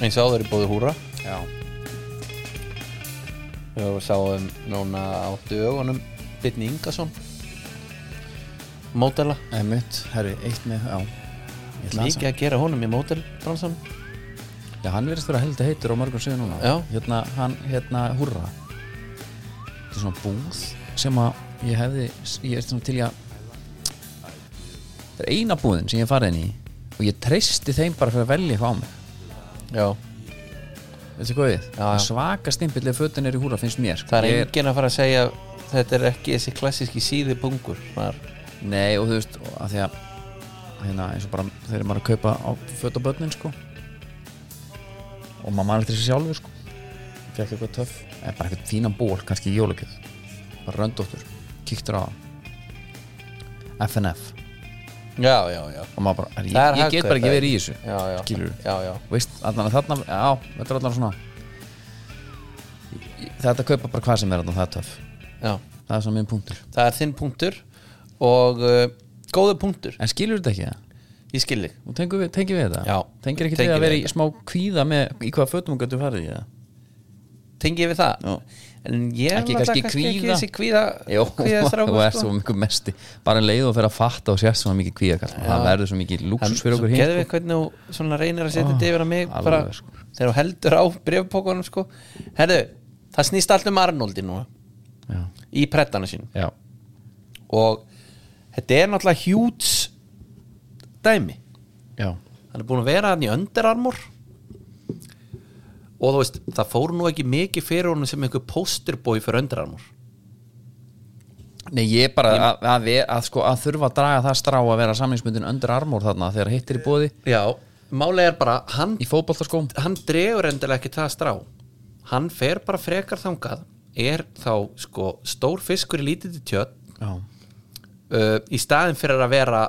Speaker 3: eins og áður í bóði húra
Speaker 2: Já,
Speaker 3: við sáum núna á dögunum Bitni Ingason mótela
Speaker 2: einmitt, herri, eitt með, já Ég ætla aðeins að-
Speaker 3: mikið að gera honum í mótelbransan
Speaker 2: Já, hann verðist vera held að heitur á mörgum síðan núna
Speaker 3: Já.
Speaker 2: Hérna, hann, hérna, hurra Þetta er svona búð sem að ég hefði, ég er svona til í að Það er eina búðin sem ég hef farið inn í og ég treysti þeim bara fyrir að velja eitthvað á mig
Speaker 3: Já,
Speaker 2: Veistu hvað við?
Speaker 3: Já, já.
Speaker 2: Svaka stimpillið fötin er í húra finnst mér
Speaker 3: það er
Speaker 2: Ég
Speaker 3: enginn að fara að segja þetta er ekki þessi klassíski síði pungur þar,
Speaker 2: Nei, og þú veist, og að því að hérna, eins og bara þegar maður er að kaupa á föt og börnin, sko og maður maður eftir sér sjálfur, sko fekk eitthvað töff, eða bara eitthvað fínan ból kannski í jólugjöð, bara röndóttur kíktur á það. FNF,
Speaker 3: já, já, já
Speaker 2: og maður bara, er,
Speaker 3: Það er
Speaker 2: ég, ég
Speaker 3: hagkaup,
Speaker 2: get bara ekki
Speaker 3: það
Speaker 2: verið í þessu
Speaker 3: já, já,
Speaker 2: Skilurðu?
Speaker 3: já, já,
Speaker 2: veist, allan að þarna, já, þetta er allan svona þetta kaupa bara hvað sem er allan, það er töff
Speaker 3: já
Speaker 2: það er svona minn punktur,
Speaker 3: það er þinn punktur og uh, góðu punktur,
Speaker 2: en skilur þetta ekki það?
Speaker 3: ég skil þig
Speaker 2: og tengjum við, tengjum við það
Speaker 3: Já.
Speaker 2: tengir ekki
Speaker 3: Tengjum
Speaker 2: við að
Speaker 3: við
Speaker 2: vera í smá kvíða með í hvaða fötum hún getur farið í það
Speaker 3: tengi ég við það
Speaker 2: Já.
Speaker 3: en ég er
Speaker 2: Ekki kannski
Speaker 3: náttúrulega ekki
Speaker 2: kvíða.
Speaker 3: þessi kvíða
Speaker 2: Jó, [laughs] þú
Speaker 3: kvíða sko. strákur
Speaker 2: er svo mikið mesti bara en leið og fyrir að fatta og sérst svona mikið kvíða kall. það verður svo mikið lúksus fyrir okkur
Speaker 3: geðu
Speaker 2: hinn
Speaker 3: við hvernig þú svona reynir að setja þetta yfir að mig
Speaker 2: sko? Ah, alveg,
Speaker 3: bara,
Speaker 2: sko.
Speaker 3: þegar þú heldur á brefpókunum sko. herðu, það snýst allt um Arnoldi núna
Speaker 2: sko. Já.
Speaker 3: í prettana sín
Speaker 6: já,
Speaker 3: og þetta er náttúrulega hjúts dæmi
Speaker 6: já,
Speaker 3: hann er búin að vera hann í öndirarmur og þú veist það fór nú ekki mikið fyrir honum sem einhver posterbói fyrir öndirarmur
Speaker 2: Nei, ég bara að, að, við, að, sko, að þurfa að draga það strá að vera samlingsmyndin öndur armór þarna þegar hittir í bóði
Speaker 3: já, málega er bara hann,
Speaker 2: í fótboltaskóm
Speaker 3: hann dregur endilega ekki það strá hann fer bara frekar þangað er þá sko stór fiskur í lítið tjött
Speaker 2: Já,
Speaker 3: uh, í staðin fyrir að vera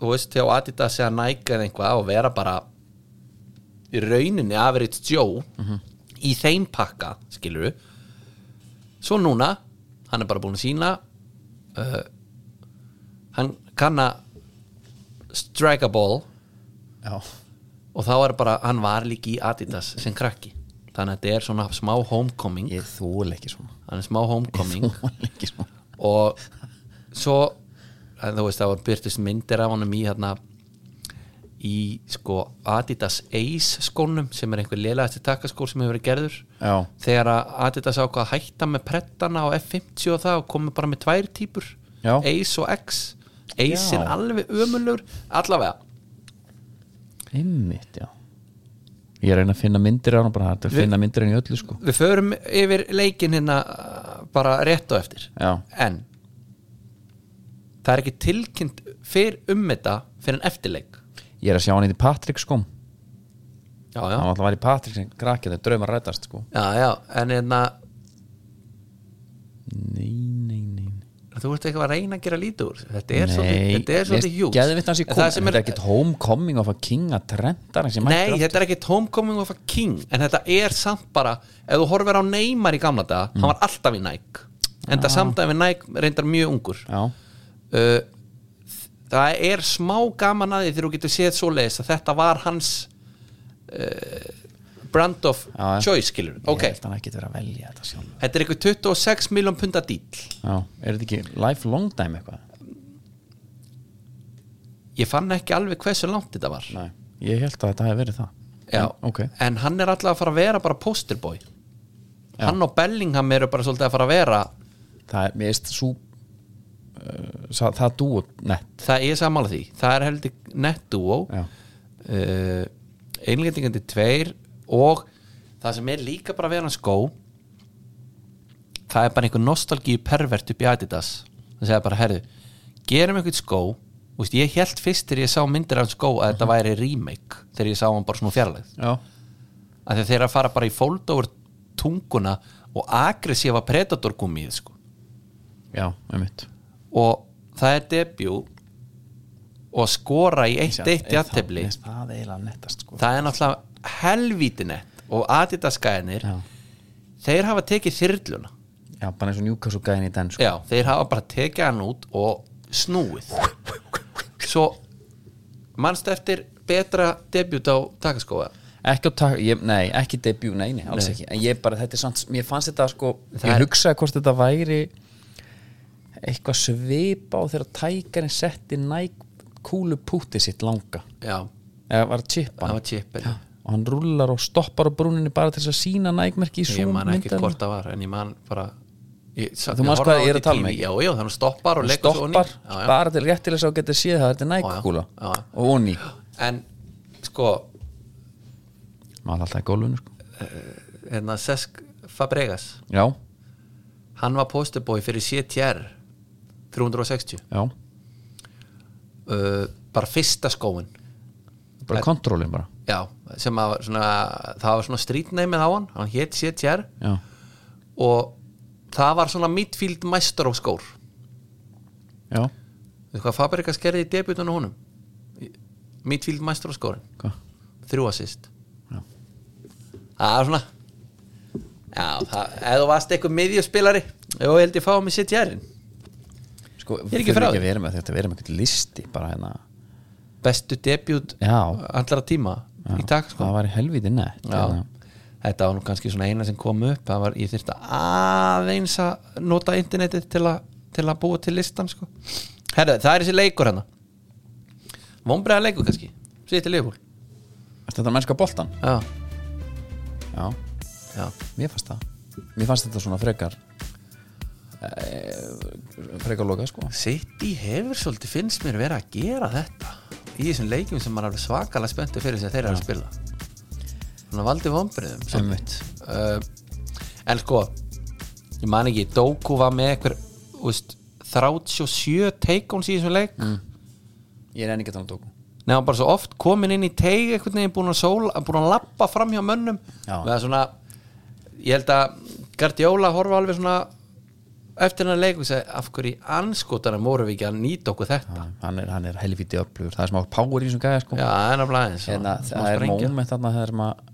Speaker 3: þú veist, hjá Adidas eða Nike eða einhvað og vera bara í rauninni average Joe í þeim pakka, skilur við svo núna hann er bara búin að sína uh, hann kann að strike a ball
Speaker 2: já,
Speaker 3: og þá er bara, hann var líki í Adidas sem krakki, þannig að þetta er svona smá homecoming,
Speaker 2: ég þúl ekki svona [laughs]
Speaker 3: hann er smá homecoming
Speaker 2: Þúl ekki svona
Speaker 3: og svo að þú veist það var byrtist myndir af honum í hérna í sko Adidas Ace skónum sem er einhver lélægasti takkaskór sem hefur verið gerður
Speaker 2: Já,
Speaker 3: þegar að Adidas ákvað að hætta með prettana á F50 og það og komið bara með tvær típur
Speaker 2: Já.
Speaker 3: Ace og X
Speaker 2: Já.
Speaker 3: Ace er alveg ömulur allavega
Speaker 2: einmitt, já Ég er að reyna að finna myndir á hann bara þetta er að finna myndir henni í öllu sko
Speaker 3: við förum yfir leikin hérna uh, bara rétt á eftir
Speaker 2: Já.
Speaker 3: en það er ekki tilkynnt fyrr um þetta fyrir en eftirleik
Speaker 2: Ég er að sjá hann í Patrik skóm
Speaker 3: já, já.
Speaker 2: Hann var alltaf að vera í Patrik sem krakki þegar draumar rætast sko
Speaker 3: Já, já, en hérna, einna,
Speaker 2: Nei, nei, nei
Speaker 3: þú ert eitthvað að reyna að gera lítið úr þessu. þetta er svolítið,
Speaker 2: Nei,
Speaker 3: þetta er svolítið hjús
Speaker 2: Geðvitt hans í
Speaker 3: En
Speaker 2: kom
Speaker 3: það sem
Speaker 2: Þetta er ekkit homecoming of a king að trendar
Speaker 3: Nei, þetta er ekkit homecoming of a king en þetta er samt bara, ef þú horfir á Neymar í gamla daga,
Speaker 2: Mm.
Speaker 3: hann var alltaf í Nike en það samt að við Nike reyndar mjög ungur
Speaker 2: Já,
Speaker 3: uh, það er smá gaman að því þegar þú getur séð svo leiðis að þetta var hans uh, brand of
Speaker 2: Já, já.
Speaker 3: choice, skilur
Speaker 2: ég
Speaker 3: ok,
Speaker 2: held hann ekkit vera að velja þetta sjálf
Speaker 3: þetta er eitthvað 26 miljón punda dýl
Speaker 2: Já, er þetta ekki lifelong time eitthvað?
Speaker 3: ég fann ekki alveg hversu langt þetta var
Speaker 2: Nei Ég held að þetta hefði verið það
Speaker 3: Já,
Speaker 2: En, Ok,
Speaker 3: en hann er alltaf að fara að vera bara posterboy Hann og Bellingham eru bara svolítið að fara að vera
Speaker 2: það er, mér veist, svo uh, sa- það dúo, nett
Speaker 3: Það er sammála því, það er heldur nettúó
Speaker 2: Já,
Speaker 3: uh, Einlendingandi tveir og það sem er líka bara að vera hann skó Það er bara einhver nostalgíu pervert upp í Adidas Það segja bara, herðu, gerum einhvern skó Þú veist, ég held fyrst þegar ég sá myndir af hans skó að þetta væri remake þegar ég sá hann bara svona fjarlægð
Speaker 2: já,
Speaker 3: að þeir eru að fara bara í fold over tunguna og aggressífa predator gummið sko.
Speaker 2: já, einmitt
Speaker 3: og það er debut og skora í eitt eitt
Speaker 2: Er það-
Speaker 3: jættefli
Speaker 2: mér finnst Það er eiginlega nettast, sko
Speaker 3: það er náttúrulega helvítinett og adidaskæðinir
Speaker 2: Já,
Speaker 3: þeir hafa tekið þyrluna
Speaker 2: já bara eins og Newcastle gæðin í den, sko
Speaker 3: já, þeir hafa bara tekið hann út og snúið svo mannst eftir betra debut á takaskóa
Speaker 2: Ekki á tak, ég, nei, ekki debut, nei, nei, alls ekki En ég bara, þetta er samt, mér fannst þetta, sko
Speaker 3: Það
Speaker 2: Ég
Speaker 3: er-
Speaker 2: hugsaði hvort þetta væri eitthvað svipa og þegar tækarinn setti næg kúlu púti sitt langa
Speaker 3: já,
Speaker 2: eða var að chippa
Speaker 3: það
Speaker 2: hann
Speaker 3: var chipin
Speaker 2: og hann rullar og stoppar á brúninni bara til þess að sína nægmerki í
Speaker 3: ég
Speaker 2: zoom
Speaker 3: man ekki
Speaker 2: myndavélina.
Speaker 3: hvort það var en ég man bara ég, sa-
Speaker 2: Þú
Speaker 3: ég
Speaker 2: manst
Speaker 3: horfði
Speaker 2: hvað
Speaker 3: á
Speaker 2: ég er
Speaker 3: þetta
Speaker 2: að tala
Speaker 3: í
Speaker 2: um,
Speaker 3: TV.
Speaker 2: ekki?
Speaker 3: já, já, þannig stoppar og leikur svo
Speaker 2: stoppar
Speaker 3: onni. Já, já.
Speaker 2: bara til rétt til þess að geta séð það þetta er nægkúla
Speaker 3: Já, já. Já, já.
Speaker 2: og onni
Speaker 3: en sko
Speaker 2: maður er alltaf í gólfinu sko.
Speaker 3: hérna, Sesk Fabregas
Speaker 2: já,
Speaker 3: hann var posturbói fyrir CTR 360
Speaker 2: já,
Speaker 3: uh, bara fyrsta skóin
Speaker 2: bara kontrólin bara
Speaker 3: já, sem að var svona, það var svona strítneimið á hann hann hétt CTR
Speaker 2: já,
Speaker 3: og það var svona midfield mæstur á skór
Speaker 2: já,
Speaker 3: veit hvað Fabregas gerði í debutunum honum midfield mæstur á skórin
Speaker 2: Hva?
Speaker 3: þrjú assist
Speaker 2: Já.
Speaker 3: það er svona já, það, ef þú varst eitthvað miðjöspilari ef þú held ég fá mig sitt jærin
Speaker 2: sko,
Speaker 3: er ekki frá
Speaker 2: þurfum
Speaker 3: því.
Speaker 2: að vera með þetta vera með eitthvað listi bara hérna
Speaker 3: bestu debut
Speaker 2: já,
Speaker 3: allra tíma
Speaker 2: já.
Speaker 3: í dag sko
Speaker 2: það var í helviti nett
Speaker 3: já. Hérna. þetta var nú kannski svona eina sem kom upp það var, ég þyrfti aðeins að nota internetið til að, til að búa til listan sko herðu, það er þessi leikur hérna vonbreiða leikur kannski, sér til leifúl
Speaker 2: þetta er mennska boltan
Speaker 3: já,
Speaker 2: já,
Speaker 3: já,
Speaker 2: mér fannst það mér fannst þetta svona frekar frekar loka sko
Speaker 3: City hefur svolítið finnst mér verið að gera þetta í þessum leikjum sem maður er alveg svakalega spenntu fyrir sem þeir eru að spila þannig að valdi vonbriðum
Speaker 2: Einmitt.
Speaker 3: uh, en sko ég man ekki, Doku var með einhver þú veist, 37 take-ons í þessum leik mm.
Speaker 2: ég er ennig að tala um Doku
Speaker 3: nefnum bara svo oft komin inn í teig einhvern veginn búin að, sóla, búin að lappa fram hjá mönnum
Speaker 2: Já.
Speaker 3: með svona ég held að Gardiola horfa alveg svona eftir hennar leik og segi af hverju í anskotanum vorum við ekki að nýta okkur þetta
Speaker 2: hann er, hann er helvítið öflugur, það er smá power í þessum gæja sko
Speaker 3: Já, það er náttúrulega eins
Speaker 2: en
Speaker 3: svona, smá
Speaker 2: Hérna, það er
Speaker 3: sprengja.
Speaker 2: moment þarna þegar maður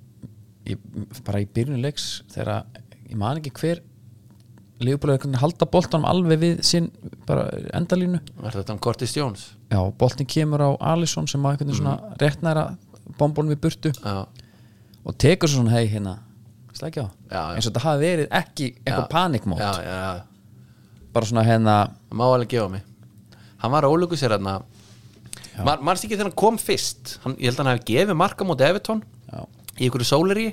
Speaker 2: ég, bara í byrjun leiks þegar að- ég man ekki hver Leifbúlega einhvern veginn halda boltanum alveg við sinn bara endalínu
Speaker 3: Er þetta um Curtis Jones?
Speaker 2: já, boltin kemur á Alisson sem að einhvern veginn
Speaker 3: Mm.
Speaker 2: svona rétt næra bombunum við burtu
Speaker 3: Já,
Speaker 2: og tekur svo svona hei hérna slækja á,
Speaker 3: Já, já.
Speaker 2: eins og þetta hafi verið ekki eitthvað
Speaker 3: já,
Speaker 2: panikmót,
Speaker 3: já, já
Speaker 2: bara svona hérna
Speaker 3: Það má alveg gefa mig Hann var ólöku sér þarna Mar, Marst ekki þegar hann kom fyrst hann, Ég held að hann hafi gefið marka móti Evertón
Speaker 2: já,
Speaker 3: Í ykkur sóleri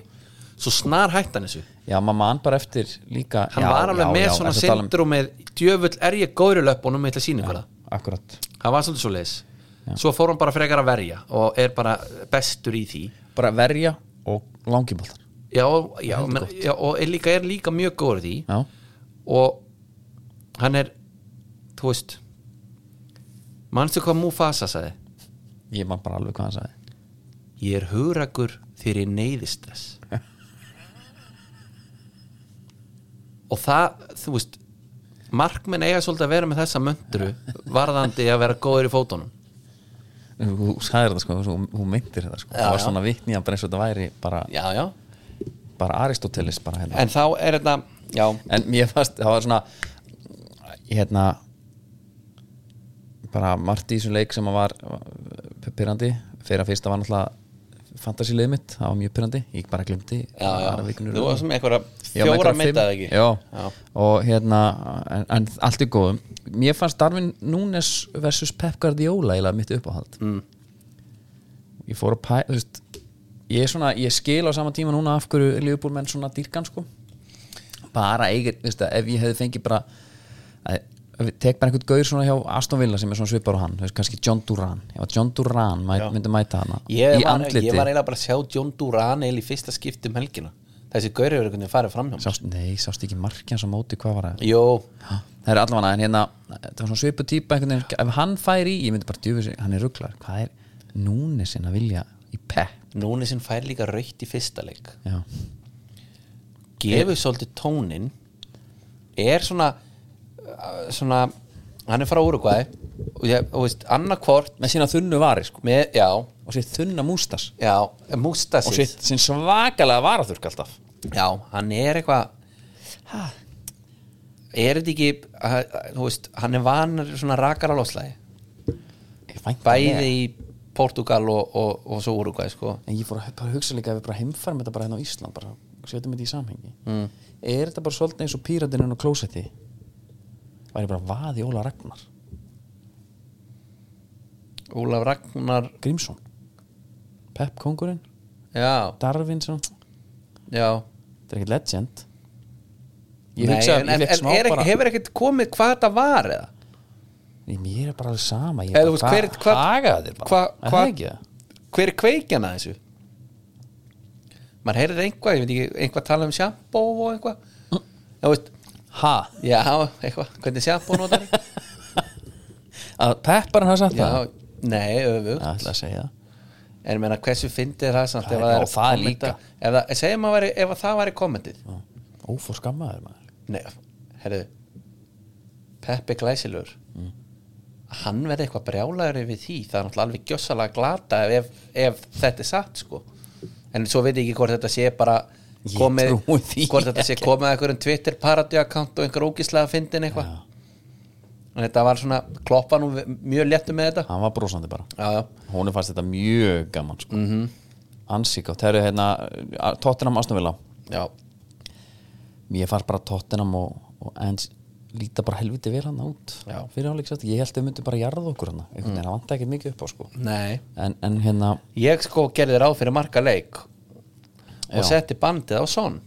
Speaker 3: Svo snar hætt hann þessu
Speaker 2: já maður mann bara eftir líka
Speaker 3: Hann
Speaker 2: já,
Speaker 3: var alveg
Speaker 2: já,
Speaker 3: með
Speaker 2: já,
Speaker 3: svona
Speaker 2: ertu að tala um-
Speaker 3: syndur og með Djöfull er ég góður í löpunum Með þetta sínu hvað
Speaker 2: akkurat,
Speaker 3: Hann var svolítið svo leis Svo fór hann bara frekar að verja Og er bara bestur í því
Speaker 2: bara verja og langi boltan
Speaker 3: Já, já, menn, já og er líka, er líka mjög góður í því
Speaker 2: já,
Speaker 3: og hann er þú veist manstu hvað Mufasa sagði
Speaker 2: ég man bara alveg hvað hann sagði
Speaker 3: ég er hugrakur þegar ég neyðist þess og það þú veist markmenn eiga svolítið að vera með þessa möndru varðandi að vera góður í fótunum
Speaker 2: Þú þú sagðir þetta sko, þú- þú- þú myndir þetta sko
Speaker 3: Já,
Speaker 2: Það var
Speaker 3: já.
Speaker 2: svona vitni að bara eins og þetta væri bara,
Speaker 3: já, já,
Speaker 2: bara Aristoteles bara hérna
Speaker 3: en þá er þetta já,
Speaker 2: [laughs] En mér fannst, það var svona Hérna Bara margt í þessum leik sem að var uh, Pyrrandi Fyrir að fyrsta var náttúrulega Fantasílið mitt, það var mjög pyrrandi Ég bara glemdi
Speaker 3: já, já. þú var sem einhverja
Speaker 2: Já, með
Speaker 3: fjóra
Speaker 2: einhverja fimm.
Speaker 3: myndaði ekki
Speaker 2: já.
Speaker 3: Já.
Speaker 2: og hérna en, en allt er góðum mér fannst Darwin Núnes versus Pep Guardiola eða mitt uppáhald mm. ég fór að pæ þú veist, ég, er svona, ég skil á sama tíma núna af hverju Liverpool menn svona dýrkan sko bara eigir, þú veist, ef ég hefði fengið bara að, ef ég tek bara einhvern gaur svona hjá Aston Villa sem er svona svipar á hann þú veist, kannski John Duran, ef að John Duran mæ, myndi mæta hana í
Speaker 3: ég var,
Speaker 2: andliti
Speaker 3: ég var eiginlega bara að sjá John Duran eil í fyrsta skipti um helgina þessi gauri hefur einhvern veginn farið fram hjá mér.
Speaker 2: sást, nei, sást ekki markið hans á móti hvað var það
Speaker 3: Jó,
Speaker 2: það er allavega en hérna það var svona svipu típa einhvern veginn ef hann fær í, ég myndi bara djöfu sig, hann er rugglar hvað er núni sinn að vilja í pepp
Speaker 3: núni sem fær líka raukt í fyrsta leik
Speaker 2: já,
Speaker 3: gefur svolítið tónin er svona uh, svona, hann er frá Úrugvæ og ég, og veist, annarkvort
Speaker 2: með sína þunnu vari sko
Speaker 3: með, já,
Speaker 2: og sér þunna mústas
Speaker 3: já, músta
Speaker 2: og sér, sér svakalega varaþurk alltaf
Speaker 3: já, hann er eitthvað ha, er þetta ekki ha, þú veist, hann er vanar svona rakar á loslægi,
Speaker 2: Ég vænti
Speaker 3: bæði
Speaker 2: með.
Speaker 3: í Portugal og, og, og svo Úrugvæ sko.
Speaker 2: en ég fór að bara hugsa líka ef við bara heimfærum þetta bara hérna á Ísland bara setjum þetta í samhengi mm. er þetta bara svolítið eins og píratinn og klósetti væri bara vaði Óla Ragnar
Speaker 3: Ólaf Ragnar
Speaker 2: Grímsson Pepp kongurinn,
Speaker 3: já,
Speaker 2: Darvin svona
Speaker 3: já
Speaker 2: þetta er ekkert legend
Speaker 3: Nei,
Speaker 2: hugsaði-
Speaker 3: en, en,
Speaker 2: fékk
Speaker 3: en
Speaker 2: smá
Speaker 3: er, ekki-
Speaker 2: bara-
Speaker 3: hefur ekkert komið hvað þetta var eða?
Speaker 2: Nei, mér er bara alveg sama ég
Speaker 3: Eða
Speaker 2: bara,
Speaker 3: þú veist, hver- hvað-
Speaker 2: hagaði þér bara
Speaker 3: hvað-
Speaker 2: Er
Speaker 3: hvað-
Speaker 2: það ekki það?
Speaker 3: hver er kveikjan að þessu maður heyrir einhvað ég veit ekki, einhvað tala um sjampó og einhvað þú veist,
Speaker 2: ha,
Speaker 3: já, eitthvað hvernig sjampó notar ég?
Speaker 2: að pepparinn hafa sagt
Speaker 3: já,
Speaker 2: [laughs] það
Speaker 3: nei, öfugt
Speaker 2: það ætla að segja það.
Speaker 3: en ég meina, hversu fyndið er það samt
Speaker 2: Það
Speaker 3: ef
Speaker 2: er-
Speaker 3: það
Speaker 2: og það er líka.
Speaker 3: kommenta- ef það, segjum að veri, ef að það væri kommentið
Speaker 2: ófór skammaður maður
Speaker 3: nei, herðu Peppi Glæsilur
Speaker 2: Mm.
Speaker 3: hann verði eitthvað brjálæður yfir því það er náttúrulega alveg gjössalega glata ef, ef þetta er satt sko en svo veit ég ekki hvort þetta sé bara
Speaker 2: Ég
Speaker 3: komið,
Speaker 2: trúi því
Speaker 3: hvort þetta sé komið að einhverjum Twitter paradíu account og einhver ógislega fyndin eitthvað en þetta var svona kloppa nú mjög léttu með þetta
Speaker 2: hann var brosandi bara
Speaker 3: já, já,
Speaker 2: honum fannst þetta mjög gaman sko. mm -hmm.
Speaker 3: Mhm.
Speaker 2: ansíkátt, það eru hérna Tottenham Astonvilla
Speaker 3: já,
Speaker 2: mér fannst bara Tottenham og, og ens líta bara helviti vel hann út
Speaker 3: Já.
Speaker 2: fyrir áleik sætt, ég held að við myndum bara jarða okkur hann einhvern veginn, það vanta ekkert mikið upp á sko
Speaker 3: nei
Speaker 2: en, en hérna,
Speaker 3: ég sko gerði ráð fyrir marga leik og
Speaker 2: Já.
Speaker 3: setti bandið á son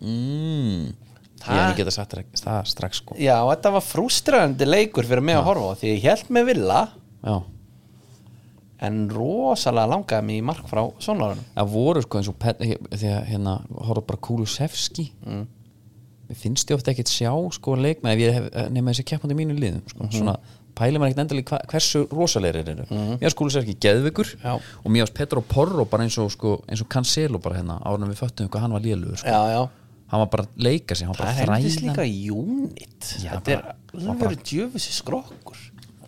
Speaker 3: mm.
Speaker 2: ég hef ekki getað sagt þér það strax sko
Speaker 3: Já, þetta var frústrandi leikur fyrir mig að horfa á því ég held með Villa
Speaker 2: já,
Speaker 3: en rosalega langaði mig í mark frá sonarunum
Speaker 2: það voru sko eins og pen, því að hérna horfðu bara Kulusevski mm. mér finnst ég ofta ekkert sjá sko leikmenn ef ég hef nema þessi keppandi mínu liðum sko.
Speaker 3: Mhm.
Speaker 2: svona pæli maður ekkert endalið hva, hversu rosalegir er þetta mér finnst Kulusevski geðveikur
Speaker 3: Mhm. Já.
Speaker 2: og mér finnst Petro Porro bara eins og sko eins og Cancelo bara hérna árnum við föttum hvað hann var lélugur sko.
Speaker 3: Já, já,
Speaker 2: hann var bara að leika sig, hann var
Speaker 3: það
Speaker 2: bara
Speaker 3: er hendis
Speaker 2: þræðan
Speaker 3: líka unit
Speaker 2: Já,
Speaker 3: Þetta er
Speaker 2: bara- bara-
Speaker 3: alveg djöfusi skrokkur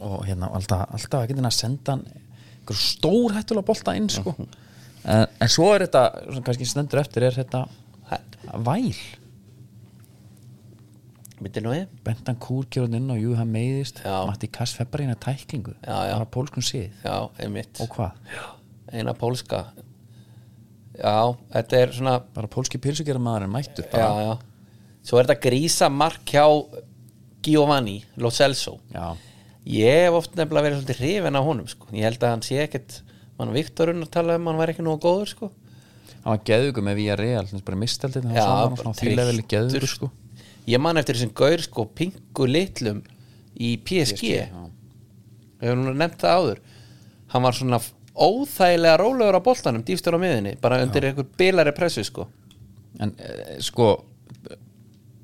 Speaker 2: og hérna alltaf, alltaf ekki þinn að senda hann einhver stór hættulega bolta inn sko. en, en svo er þetta svona, kannski stendur eftir er þetta væl
Speaker 3: Myndi nú ég?
Speaker 2: Bentan Kúr kjörðun inn og jú, hann meiðist
Speaker 3: Já.
Speaker 2: Matti Kass febbarina tæklingu
Speaker 3: Já, já.
Speaker 2: bara pólskun sið
Speaker 3: Já, einmitt
Speaker 2: og hvað,
Speaker 3: Eina pólska Já, þetta er svona
Speaker 2: bara pólski pilsugjara maðurinn mættur
Speaker 3: já,
Speaker 2: bara.
Speaker 3: já. Svo er þetta grísa mark hjá Giovanni Lo Celso
Speaker 2: Já.
Speaker 3: Ég hef oft nefnilega verið svolítið hrifin á honum sko. Ég held að hann sé ekkert mann Viktorun að tala um að hann væri ekki nógu góður sko.
Speaker 2: hann var geðugur með Vía Real bara mistaldið, hann var svona
Speaker 3: bara
Speaker 2: þýleveli
Speaker 3: trylltur,
Speaker 2: geðugur sko.
Speaker 3: Ég man eftir þessum gaur sko, pingu litlum í PSG, Við höfum nú nefnt það áður Hann var svona óþægilega rólegur á boltanum, dýftur á miðinni bara undir einhver bilari pressu sko.
Speaker 2: en eh, sko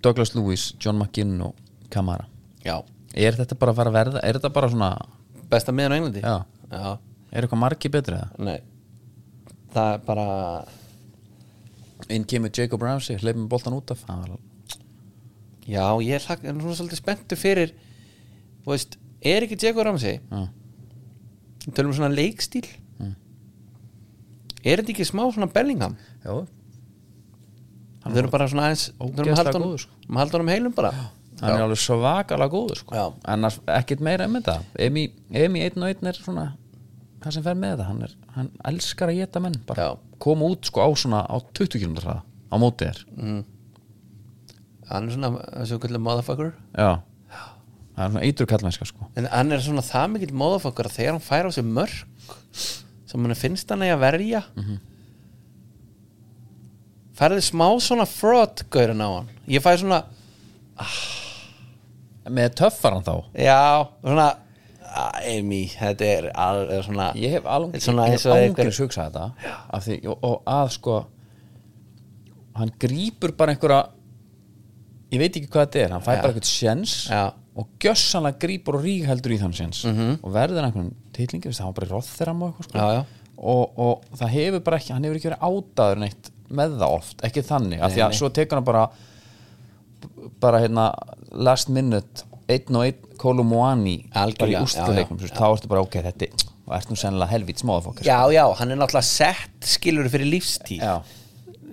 Speaker 2: Douglas Lewis, John McGinn og Kamara,
Speaker 3: Já,
Speaker 2: er þetta bara að fara að verða er þetta bara svona,
Speaker 3: besta miðin á Englandi
Speaker 2: Já.
Speaker 3: Já.
Speaker 2: er eitthvað margi betri eða?
Speaker 3: Nei Það er bara
Speaker 2: inn kemur Jacob Ramsey, hleypum boltan út af hann var-
Speaker 3: Já, ég er hlak- er svona svolítið spenntu fyrir Þú veist, er ekki Jacob Ramsey
Speaker 2: Já.
Speaker 3: Við Tölum um svona leikstíl
Speaker 2: Mm.
Speaker 3: Er þetta ekki smá svona Bellingham
Speaker 2: já,
Speaker 3: Við þurfum bara svona aðeins Við þurfum að
Speaker 2: Ógeðslega
Speaker 3: halda honum-
Speaker 2: góður, sko.
Speaker 3: um að halda honum heilum bara
Speaker 2: hann er alveg svakalega góður sko.
Speaker 3: Já.
Speaker 2: annars ekkert meira um þetta Emi, Emi einn og einn er svona það sem fer með þetta, hann, er, hann elskar að geta menn bara
Speaker 3: Já.
Speaker 2: koma út sko á svona á 20 km hraða á móti þér
Speaker 3: Hann er svona Svo kvöldlega motherfucker
Speaker 2: já, það er svona eitur kallmennska sko
Speaker 3: En hann er svona það mikill motherfucker að Þegar hann fær á sig mörg Sem hann finnst hann eigi að verja mm
Speaker 2: Mhm.
Speaker 3: -hmm. Færði smá svona fraud Gaurin á hann Ég fæði svona
Speaker 2: með töffar hann þá
Speaker 3: Já, svona ah, Amy, þetta er, al, er svona
Speaker 2: ég hef alveg
Speaker 3: svona
Speaker 2: ég
Speaker 3: eins
Speaker 2: hef
Speaker 3: og
Speaker 2: ángurinn
Speaker 3: einhver
Speaker 2: hugsa þetta af því, og, og að sko hann grípur bara einhverja ég veit ekki hvað þetta er, hann fær bara eitthvað sjens
Speaker 3: Já.
Speaker 2: og gjössanlega grípur og rígheldur í þann sjens -hmm. og verður einhvern titlingi, það var bara róþeram og eitthvað sko
Speaker 3: Já, já.
Speaker 2: Og, og það hefur bara ekki, hann hefur ekki verið ádaður neitt með það oft, ekki þannig af því að svo tekur hann bara bara hérna last minute einn og einn Kolumuani bara í
Speaker 3: Algjörlega,
Speaker 2: úrstuleikum þá ertu bara ok, þetta er- og ert nú sennilega helvít smáðafokkar
Speaker 3: Já, já, hann er náttúrulega sett skilur fyrir lífstíð
Speaker 2: Já.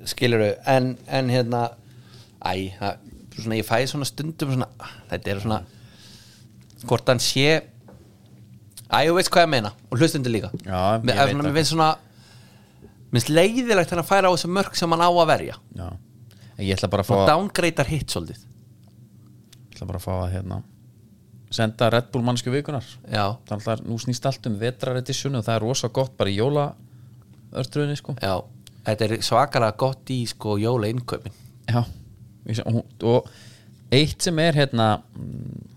Speaker 3: skilur en, en hérna æ, það, svona, ég fæði svona stundum svona, ah, þetta er svona hvort hann sé æ, þú veist hvað ég meina og hlustundu líka
Speaker 2: Já, ég veit
Speaker 3: Mér- svona,
Speaker 2: það.
Speaker 3: mér finnst svona minnst leiðilegt hann að færa á þessu mörg sem hann á að verja
Speaker 2: Já. ég ætla bara að fá
Speaker 3: og
Speaker 2: að,
Speaker 3: downgreitar hitt svolítið
Speaker 2: ætla bara að, fá að hérna, senda Red Bull mannsku vikunar
Speaker 3: já,
Speaker 2: þannig að nú snýst allt um vetraredisjunu og það er rosa gott bara í jóla ördruðinni sko
Speaker 3: já, þetta er svakalega gott í sko jóla innkaupin
Speaker 2: Já, ég sé- og, og eitt sem er hérna mm,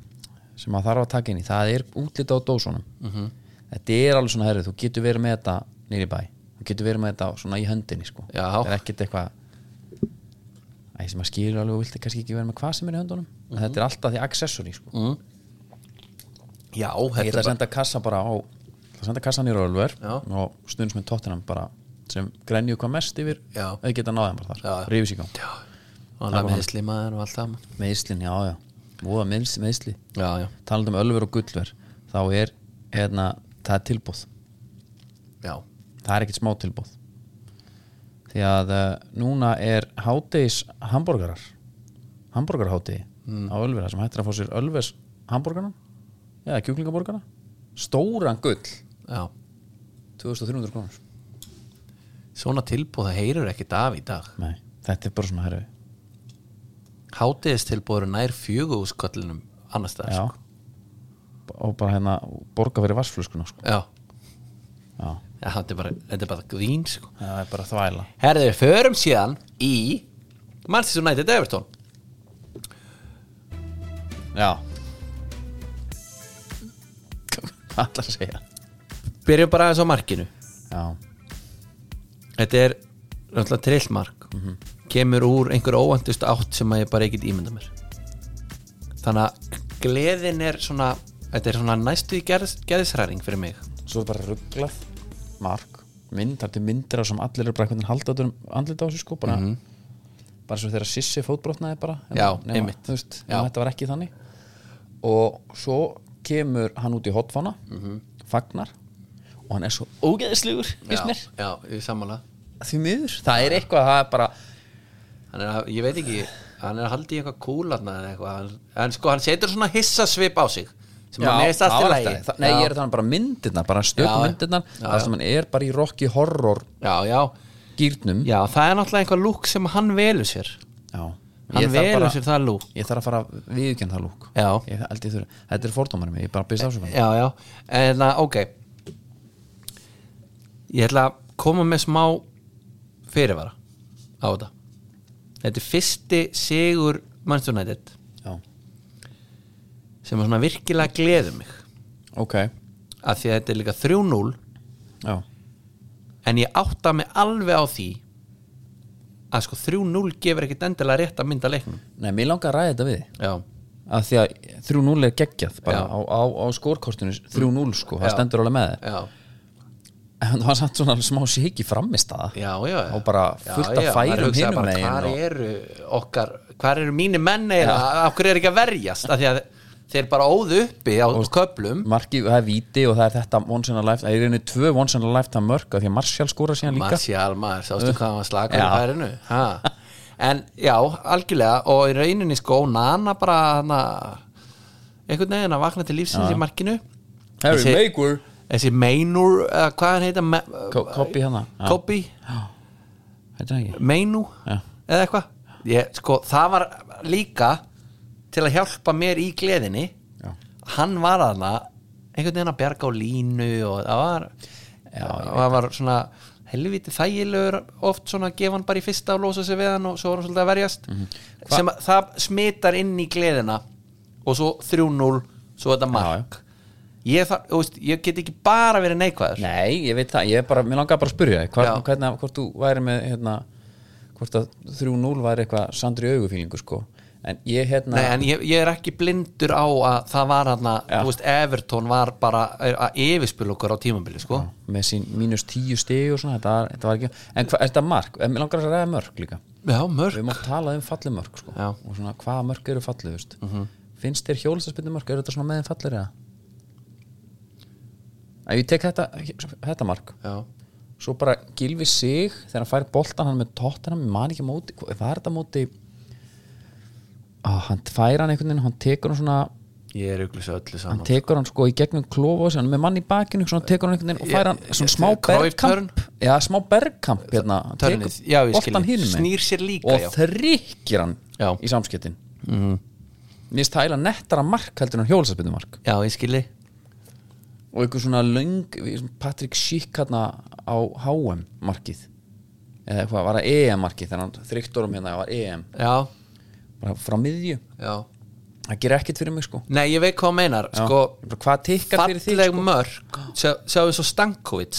Speaker 2: sem maður þarf að taka inn í það er útlita á dósunum
Speaker 3: Mhm.
Speaker 2: þetta er alveg svona herrið, þú getur verið með þetta nýri bæ, þú getur verið með þetta svona í höndinni sko,
Speaker 3: Já.
Speaker 2: það er ekkert eitthvað Æ, sem maður skilur alveg og vilti kannski ekki vera með hvað sem er í höndunum en
Speaker 3: Mhm.
Speaker 2: þetta er alltaf því accessori sko.
Speaker 3: Já,
Speaker 2: ég
Speaker 3: Mhm. þetta
Speaker 2: ætla
Speaker 3: er
Speaker 2: að senda kassa bara á ég ætla að senda kassan í Rölver
Speaker 3: Já.
Speaker 2: og stundins með tóttinam bara sem grenju hvað mest yfir
Speaker 3: Já.
Speaker 2: eða geta náðið bara þar,
Speaker 3: Já.
Speaker 2: rífis í gang
Speaker 3: Já, og hann er meðsli maður og allt saman
Speaker 2: meðslin, já, já, voða meðsli, meðsli.
Speaker 3: Já, já,
Speaker 2: talandi um ölver og gullver þá er, hérna, það er tilbúð
Speaker 3: já,
Speaker 2: það er ekkert smá tilbúð því að uh, núna er hádegis hambúrgarar hambúrgarhátegi á ölvera sem hættir að fá sér ölvers hambúrgarna eða kjúklingaborgarna stóran gull
Speaker 3: já
Speaker 2: 2300 krónur
Speaker 3: Svona tilbúð það heyrir ekkit af í dag
Speaker 2: Nei, þetta er bara svona herfi
Speaker 3: Hátiðist tilbúður nær fjögúskollinum annars staðar
Speaker 2: já. og bara hérna borga fyrir vassflöskuna sko.
Speaker 3: sko. já.
Speaker 2: já.
Speaker 3: já þetta, er bara, þetta er bara grín sko.
Speaker 2: það er bara þvæla
Speaker 3: Herðu, förum síðan í Manchester United Everton
Speaker 2: [laughs] Já Hvað ætlar að segja
Speaker 3: Byrjum bara aðeins á markinu
Speaker 2: Já,
Speaker 3: Þetta er náttúrulega trillmark Kemur úr einhver óvæntust átt sem að ég bara ekkert ímynda mér Þannig að gleðin er svona Þetta er svona næstu í gerð, gerðisræring fyrir mig
Speaker 2: svo er bara rugglað Mark, myndar til myndir á sem allir eru bara einhvern veginn haldaður um andlit á sig sko bara, bara svo þegar Sissi fótbrotnaði bara
Speaker 3: Já,
Speaker 2: nema,
Speaker 3: einmitt.
Speaker 2: þú veist,
Speaker 3: Já.
Speaker 2: nema, Þetta var ekki þannig og svo kemur hann út í hotfána fagnar og hann er svo ógeðislegur finnst mér,
Speaker 3: já, ég sammála
Speaker 2: því miður það er eitthvað, það er bara
Speaker 3: Hann er að, ég veit ekki, hann er að haldi í eitthvað kúlarna eða eitthvað Hann- En sko, hann setur svona hissasvip á sig Sem
Speaker 2: Já,
Speaker 3: hann meðist allt í
Speaker 2: það var
Speaker 3: lagi
Speaker 2: alltaf- það- Nei,
Speaker 3: Já.
Speaker 2: ég er þannig bara myndirnar, bara
Speaker 3: Já,
Speaker 2: stöku
Speaker 3: já.
Speaker 2: myndirnar
Speaker 3: Já,
Speaker 2: það sem hann er bara í Rocky Horror
Speaker 3: Já, já,
Speaker 2: gýrnum
Speaker 3: já, það er náttúrulega einhver lúk sem hann velur sér Hann velur sér það lúk
Speaker 2: Ég þarf að fara að viðurkenna það lúk
Speaker 3: Já.
Speaker 2: Ég held ég þurfa, þetta er fordómar mig, ég bara byrst ásökan
Speaker 3: já, já, en að, ok ég ætla að koma með smá fyrirvara á þetta þetta er fyrsti sigur Manchester United
Speaker 2: Já,
Speaker 3: sem er svona virkilega gleður mig
Speaker 2: ok
Speaker 3: af því að þetta er líka 3-0
Speaker 2: Já,
Speaker 3: en ég átta mig alveg á því að sko 3-0 gefur ekkit endilega rétt að mynda leiknum
Speaker 2: nei, mér langar að ræða þetta við þig.
Speaker 3: já,
Speaker 2: Af því að 3-0 er geggjað bara
Speaker 3: Já.
Speaker 2: á, á, á skórkortinu 3-0 sko, það
Speaker 3: Já.
Speaker 2: stendur alveg með þér
Speaker 3: já,
Speaker 2: En það var samt svona smá siki framist að
Speaker 3: já, já
Speaker 2: Og bara fullt af færum hinum megin
Speaker 3: hvar
Speaker 2: og-
Speaker 3: eru okkar, hvar eru mínu menn eða af hverju er ekki að verjast af því að þeir bara óðu uppi á köplum
Speaker 2: Marki, það er viti og það er þetta once in a lifetime, það er einu tvö once in a lifetime mörg af því að Martial skóra síðan líka Uh.
Speaker 3: Marcial maður, sástu hvað hann var slakar í
Speaker 2: Já.
Speaker 3: færinu ha. en já, algjörlega og í rauninni sko, Nana bara hana, einhvern veginn að vakna til lífsins í markinu
Speaker 2: Harry
Speaker 3: Þessi-
Speaker 2: Maguire
Speaker 3: þessi Mainur, uh, hvað hann heita
Speaker 2: Ko- Kobe hana. Já.
Speaker 3: Kobi,
Speaker 2: Þetta er ekki
Speaker 3: Meinu
Speaker 2: Já.
Speaker 3: eða eitthvað Ég, sko, það var líka til að hjálpa mér í gleðinni
Speaker 2: Já.
Speaker 3: hann var þarna einhvern veginn að bjarga á línu og það var, Já, það var svona helviti þægilegur oft svona að gefa hann bara í fyrsta og losa sig við hann og svo var hann svolítið að verjast
Speaker 2: Mhm.
Speaker 3: sem að það smitar inn í gleðina og svo 3-0 svo þetta mark Ég, þar, þú veist, ég get ekki bara verið neikvæður
Speaker 2: Nei, ég veit það, ég er bara, mér langar bara að spyrja þig hvar,
Speaker 3: Já.
Speaker 2: hvernig, hvort þú væri með hérna, hvort að 3-0 væri eitthvað sandri augufílingu sko en ég hérna
Speaker 3: Nei, en ég, ég er ekki blindur á að það var hann að,
Speaker 2: Já.
Speaker 3: þú veist, Everton var bara að yfirspil okkur á tímabili, sko
Speaker 2: með sín mínus 10 stig og svona þetta, var- þetta var ekki, en hvað, er þetta mark en mér langar að ræða mörg líka
Speaker 3: Já, mörg
Speaker 2: við mátt tala um falli mörg sko
Speaker 3: Já. Mhm.
Speaker 2: og svona hvaða mörg eru falli, þú veist finnst þér hjólastaspindu mörg, eru þetta svona meðin fallir eða? Ef ég tek þetta, þetta mark
Speaker 3: Já,
Speaker 2: svo bara gilfi sig þegar hann fær boltan hann með tóttina ég man ekki á móti, hvað var þetta á móti ah, hann fær hann einhvern veginn hann tekur hann svona
Speaker 3: ég er ykkur svo öllu
Speaker 2: hann
Speaker 3: saman
Speaker 2: tekur hann sko í gegnum klofa hann er með mann í bakinu, svona tekur hann einhvern veginn og fær hann
Speaker 3: Ég-
Speaker 2: svona
Speaker 3: ég-
Speaker 2: smá
Speaker 3: Cruyff turn?
Speaker 2: bergkamp já, smá bergkamp hérna, hann
Speaker 3: Törnið,
Speaker 2: tekur
Speaker 3: já, ég skil
Speaker 2: boltann
Speaker 3: ég.
Speaker 2: hinum megin
Speaker 3: Snýr sér líka, já.
Speaker 2: og þrykkir hann
Speaker 3: Já. Mhm.
Speaker 2: í samskettin mm -hmm. nýst hæla nettara mark heldur en hjólasabindu mark
Speaker 3: Já, ég skilji
Speaker 2: og einhver svona löng Patrick Schick hérna á HM markið eða eitthvað, var að EM markið þannig að hann þryktur um hérna, var EM
Speaker 3: Já,
Speaker 2: bara frá miðju,
Speaker 3: já
Speaker 2: það gerir ekkert fyrir mig sko
Speaker 3: Nei, ég veit hvað þú meinar,
Speaker 2: Já.
Speaker 3: sko
Speaker 2: Ég bara, hvað tikkar fyrir þig
Speaker 3: Falleg mörg, sjá- sjáðu svo Stankovic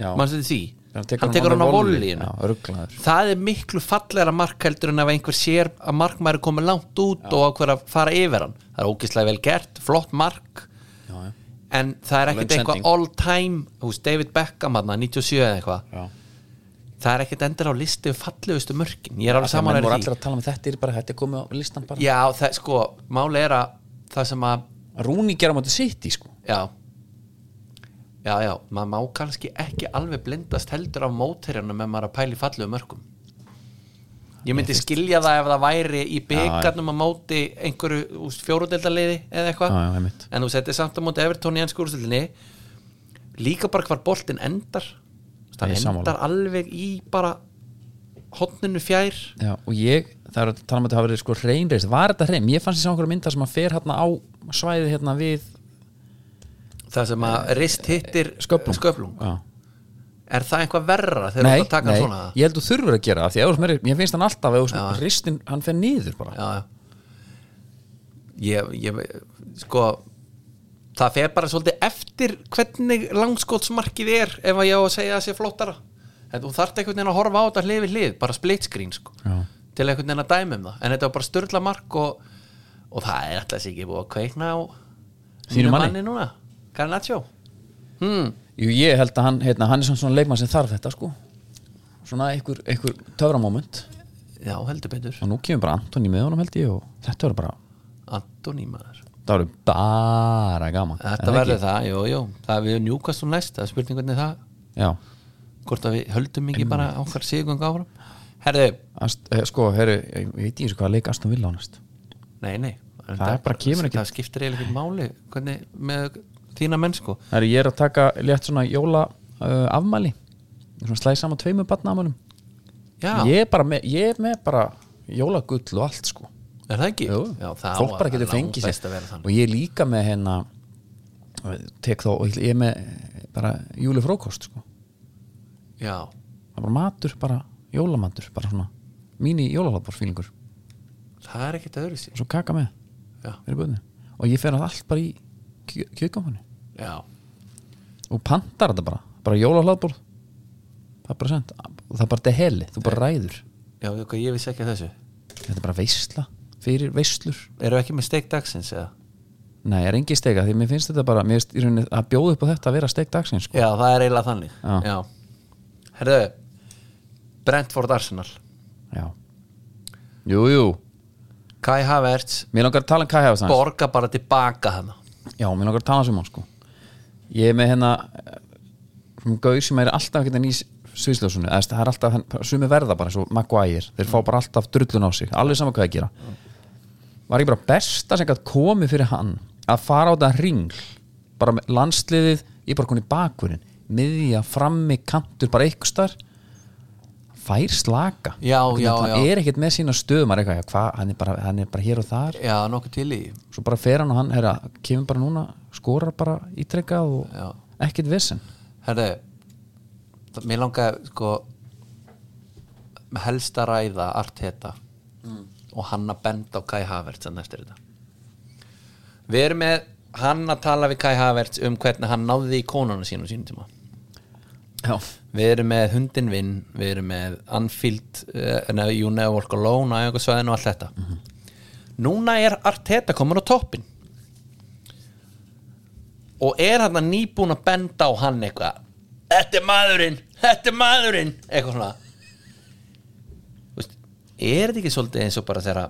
Speaker 2: Já.
Speaker 3: Manstu því?
Speaker 2: Hann tekur
Speaker 3: Hann
Speaker 2: hann
Speaker 3: tekur
Speaker 2: á
Speaker 3: hann á
Speaker 2: volley.
Speaker 3: volleyinu
Speaker 2: Já, rugglaður.
Speaker 3: Það er miklu fallegra mark heldur en ef einhver sér að markmæri komið langt út og ákveður að fara yfir hann Það er ógislega vel gert, flott mark
Speaker 2: já, já.
Speaker 3: en það er ekkert
Speaker 2: Löng
Speaker 3: eitthvað
Speaker 2: sending.
Speaker 3: all time hús, David Beckham hann 97 eða eitthvað
Speaker 2: Já.
Speaker 3: það er ekkert endur á listi um fallegustu mörkin ég er alveg
Speaker 2: Þegar menn
Speaker 3: saman
Speaker 2: voru
Speaker 3: að
Speaker 2: allir
Speaker 3: því
Speaker 2: að tala um þetta er bara, þetta er komið á listan bara
Speaker 3: já, það, sko, máli er að það sem að
Speaker 2: Rúni gera móti sitt í sko
Speaker 3: já já, já, maður má kannski ekki alveg blindast heldur af móterjanum ef maður er að pæli fallegu mörkum ég myndi skilja það ef það væri í byggarnum að móti einhverju fjóruðeldarliði eða eitthvað
Speaker 2: Já, já, einmitt.
Speaker 3: en þú settir samt á móti Evertón í ennsku úrstöldinni líka bara hvar boltinn endar það
Speaker 2: Ég er sammála.
Speaker 3: endar alveg í bara hotninu fjær
Speaker 2: já, og ég, það er að tala um að þetta hafa verið sko reynreist, var þetta hrein? Ég fannst þess að einhverja mynda sem að fer hérna á svæði hérna við
Speaker 3: það sem að rist hittir
Speaker 2: sköplung,
Speaker 3: sköplung.
Speaker 2: Já.
Speaker 3: Eh, er það eitthvað verra þegar
Speaker 2: Nei,
Speaker 3: þú ert að taka
Speaker 2: nei,
Speaker 3: hann svona
Speaker 2: ég held þú þurfur að gera það því að ef þú ert meiri- mér finnst hann alltaf ef þú- ristin, hann fer niður bara
Speaker 3: já, já. ég, ég, sko það fer bara svolítið eftir hvernig langskótsmarkið er ef að ég á að segja að sé flottara en þú þarft einhvern veginn að horfa á þetta hlið við hlið bara split screen sko
Speaker 2: Já.
Speaker 3: til einhvern veginn að dæmi um það en þetta var bara störla mark og, og það er alltaf sér ekki búið að kveikna á
Speaker 2: Þínum
Speaker 3: mínum
Speaker 2: manni?
Speaker 3: núna Garnaccio Hmm.
Speaker 2: Jú, ég held að hann, hérna, hann er samt svona leikmann sem þarf þetta sko svona einhver, einhver töframóment
Speaker 3: já heldur betur
Speaker 2: og nú kemur bara Antoni með honum held ég og þetta verður bara,
Speaker 3: Antoni maður
Speaker 2: það verður bara gaman
Speaker 3: þetta verður það, jú, jú það er við njúkast um næst, það er spurning hvernig það
Speaker 2: Já,
Speaker 3: hvort að við höldum ekki bara okkar sigurgang áfram herðu,
Speaker 2: Ast, eh, sko, heru, ég ég veit ekki hvað leik Aston Villa ánast
Speaker 3: nei, nei
Speaker 2: Það er bara kemur ekki-
Speaker 3: það skiptir eiginlega ekki máli hvernig, með þína menn sko
Speaker 2: Það er ég er að taka létt svona jóla uh, afmæli svona slæði saman tveimur barnaafmælum
Speaker 3: já,
Speaker 2: ég er bara með, ég er með bara jólagull og allt sko
Speaker 3: er það ekki?
Speaker 2: Jú,
Speaker 3: já, það
Speaker 2: fólk
Speaker 3: á
Speaker 2: bara
Speaker 3: að-
Speaker 2: getur
Speaker 3: það er
Speaker 2: fengið
Speaker 3: langbest að vera
Speaker 2: sér og
Speaker 3: þannig
Speaker 2: ég er líka með hérna tek þó, og ég ég er með eh, bara júli frókost sko
Speaker 3: já,
Speaker 2: það er bara matur, bara jólamatur bara svona mini jólalabor og
Speaker 3: það er ekkert öðru sér
Speaker 2: svo kaka með
Speaker 3: já,
Speaker 2: fyrir bönni og ég fer að allt bara í kjökkamfannu
Speaker 3: já,
Speaker 2: og pantar þetta bara, bara jólalabor það er bara sent og það er bara deheli, þú bara ræður
Speaker 3: já, veitu hvað, ég vissi ekki að þessu
Speaker 2: þetta er bara veisla, fyrir veislur
Speaker 3: eru ekki með steik dagsins eða?
Speaker 2: nei, ég er engin stega, því mér finnst þetta bara mér finnst í rauninni að bjóða upp á þetta að vera steg dagsins sko.
Speaker 3: já, það er eiginlega þannig
Speaker 2: Já.
Speaker 3: já. herðu Brentford Arsenal
Speaker 2: já, jú, jú
Speaker 3: Kai Havertz
Speaker 2: mér langar að tala um Kai Hefastans
Speaker 3: borga bara tilbaka hana
Speaker 2: Já, mér langar að tala sem hann sko Ég er með hérna svona gauð sem er alltaf ekki nýs sviðsljósunni, það er alltaf hann, sumi verða bara eins og Maguire, þeir fá bara alltaf drullun á sig, alveg sama hvað það gera Var ekki bara besta sem gætt komið fyrir hann að fara á þetta ringl bara með landsliðið í bara koni bakurinn, miðja, frammi kantur, bara eitthvað star fær slaka
Speaker 3: Já,
Speaker 2: Einhvern veginn,
Speaker 3: já,
Speaker 2: hann
Speaker 3: já.
Speaker 2: er ekkert með sína stöðum maður er eitthvað, já, hvað, hann, er bara, hann er bara hér og þar
Speaker 3: já, nokkuð til í
Speaker 2: svo bara fer hann og hann herra, kemur bara núna, skorar bara ítrekkað og
Speaker 3: Já.
Speaker 2: ekkert vissin
Speaker 3: Herðu, það- mér langaði sko helst að ræða Arteta og hann að benda á Kai Havertz þarna eftir þetta Við erum með hann að tala við Kai Havertz um hvernig hann náði í konuna sínum sínum tíma
Speaker 2: Já,
Speaker 3: Við erum með Hundin Vinn, við erum með Anfield, uh, no, You Never Walk Alone og eitthvað svæðin og allt þetta Núna er Arteta komin á toppin og er hann nýbúin að benda á hann eitthvað Þetta er maðurinn, þetta er maðurinn eitthvað svona Þú Veist, Er þetta ekki svolítið eins og bara þegar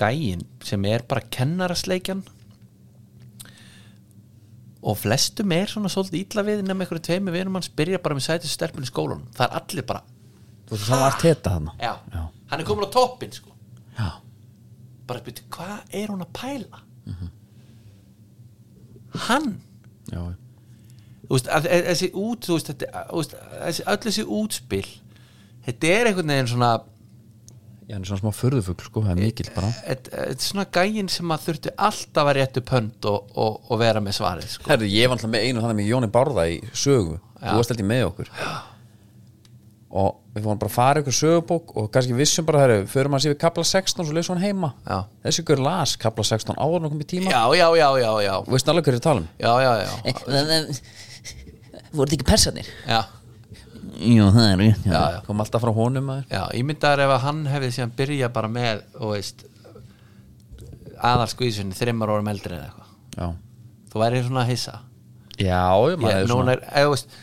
Speaker 3: gæin sem er bara kennarasleikjan og flestum er svona svolítið illa við nema einhverju tveimu vinum hans byrja bara með sætið stelpun í skólanum það er allir bara,
Speaker 2: þú veist það var teta þarna
Speaker 3: já,
Speaker 2: Já.
Speaker 3: hann er komin á toppin sko.
Speaker 2: Já.
Speaker 3: bara byrja, hvað er hún að pæla
Speaker 2: Mhm.
Speaker 3: hann
Speaker 2: Já.
Speaker 3: þú veist, að, að, þessi út þú veist, þetta, að, þú veist, að, þessi, öll þessi útspil þetta er einhvern veginn svona
Speaker 2: Ég er svona smá furðufugl sko, það er mikill bara
Speaker 3: þetta þetta er svona gæin sem að þurfti alltaf að réttu pönd og, og, og vera með svarið sko.
Speaker 2: Herri, ég var alltaf með einu þannig með Jóni Bárða í sögu þú varst alltaf með okkur Já. og við fórum bara að fara ykkur sögubók og kannski vissum bara, herri, förum að sé við kapla 16 svo leysum hann heima
Speaker 3: Já.
Speaker 2: þessi ykkur las kapla 16 áður en hann kom í tíma
Speaker 3: já, já, já, já, já
Speaker 2: og veist alveg hverju ég er að tala um
Speaker 3: já, já, já,
Speaker 1: Eh, Voru þetta ekki persanir?
Speaker 3: já.
Speaker 1: Jú, það er rétt
Speaker 3: Já, já.
Speaker 2: kom alltaf frá honum maður.
Speaker 3: Já, ég myndar ef að hann hefði síðan byrja bara með og veist aðalskvísunni þreymar orðum eldri eða eitthvað
Speaker 2: Já,
Speaker 3: þú væri svona að hissa
Speaker 2: já, ég maður
Speaker 3: ég,
Speaker 2: er
Speaker 3: núna er, eða, veist,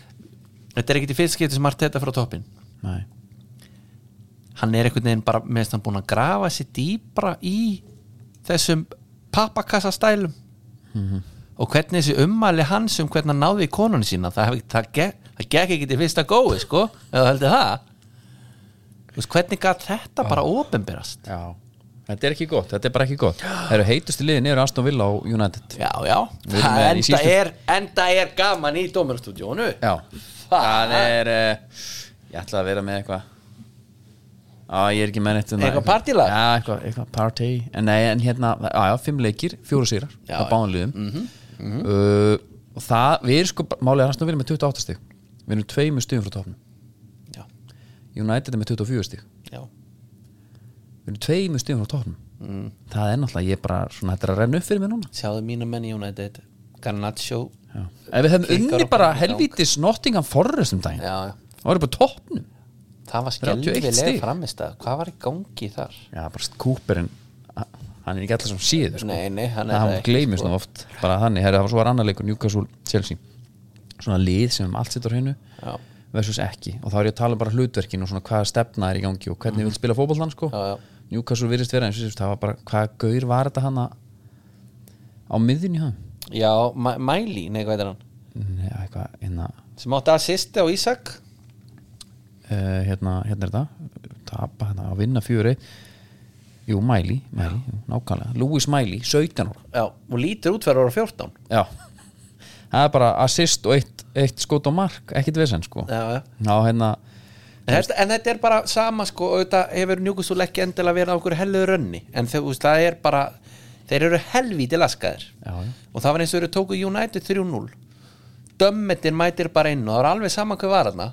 Speaker 3: Þetta er ekkit í fyrst skipti sem Arteta frá toppin
Speaker 2: Nei.
Speaker 3: hann er einhvern veginn bara meðist hann búin að grafa sér dýbra í þessum pappakassastælum
Speaker 2: Mhm.
Speaker 3: og hvernig þessi ummæli hans um hvernig hann náði í konun sína það, hef, það, gekk, það gekk ekki til fyrsta gói sko, eða heldur það Þú veist, hvernig gat þetta bara opinberast
Speaker 2: Já, þetta er ekki gott, þetta er bara ekki gott Það eru heitustu liðin eru Aston Villa og United
Speaker 3: Já, já,
Speaker 2: Við erum með
Speaker 3: það
Speaker 2: í
Speaker 3: enda,
Speaker 2: síðustu-
Speaker 3: er, enda er gaman í dómarastúdjónu
Speaker 2: Já, það er uh, Ég ætla að vera með eitthvað Já, ég er ekki með neitt um það.
Speaker 3: Eitthvað partylag?
Speaker 2: Já, eitthvað, eitthvað party En nei, en hérna, já, já, fimm leikir, fjóra sýrar
Speaker 3: Já, Mhm,
Speaker 2: á báðum liðum uh, Og það, við erum sko, málið er Aston Villa með 28 stig Við erum tveimur stigum frá topnum
Speaker 3: Já,
Speaker 2: United er með 24 stig
Speaker 3: já,
Speaker 2: Við erum tveimur stigum frá topnum
Speaker 3: Mm.
Speaker 2: það er náttúrulega, ég er bara svona þetta er að renna upp fyrir mér núna
Speaker 3: sjáðu mínu menn í United Garnaccio
Speaker 2: Já. ef við hefum
Speaker 3: Kikkar
Speaker 2: unni
Speaker 3: og
Speaker 2: bara
Speaker 3: bara í gang.
Speaker 2: helvítis Nottingham Forest um daginn,
Speaker 3: já, já.
Speaker 2: það var bara toppnum
Speaker 3: það var
Speaker 2: 31
Speaker 3: skelvilega
Speaker 2: stig.
Speaker 3: framist að hvað var í gangi þar
Speaker 2: já, bara Cooperinn hann er ekki allir sem síður sko.
Speaker 3: Nei, nei, hann
Speaker 2: hann,
Speaker 3: er það
Speaker 2: hann
Speaker 3: ekki,
Speaker 2: gleymir
Speaker 3: sko.
Speaker 2: svona oft bara þannig, herri, það var svo var annar leikur Newcastle Chelsea svona lið sem allt sittur hennu
Speaker 3: já,
Speaker 2: versus ekki og þá er ég að tala um bara hlutverkin og svona hvaða stefna er í gangi og hvernig mm. vil spila fótboltan sko.
Speaker 3: Mhm. Já, já.
Speaker 2: Newcastle virðist vera eins og þessu, það var bara hvaða gaur var þetta hann á miðjunni hann
Speaker 3: já Ma- Miley, nei hvað er hann
Speaker 2: Nei, eitthvað, hérna,
Speaker 3: sem átti assisti á Ísak
Speaker 2: uh, hérna, hérna er þetta tapa hérna að vinna fjöri jú, Miley, Miley jú, nákvæmlega, Louis Miley, 17 ára
Speaker 3: já, og lítur út fyrir ára 14
Speaker 2: já, [laughs] það er bara assist og eitt, eitt skot á mark, ekkit vesen sko
Speaker 3: já, já
Speaker 2: Ná, hérna,
Speaker 3: En þetta, en þetta er bara sama sko auðvitað hefur njúkustúl ekki endilega verið á okkur hellu rönni en þau, þú veist, það er bara þeir eru helvíti laskaðir
Speaker 2: Já, já.
Speaker 3: og það var eins og eru tóku United 3-0 dömmetin mætir bara inn og það var alveg saman hvað var þarna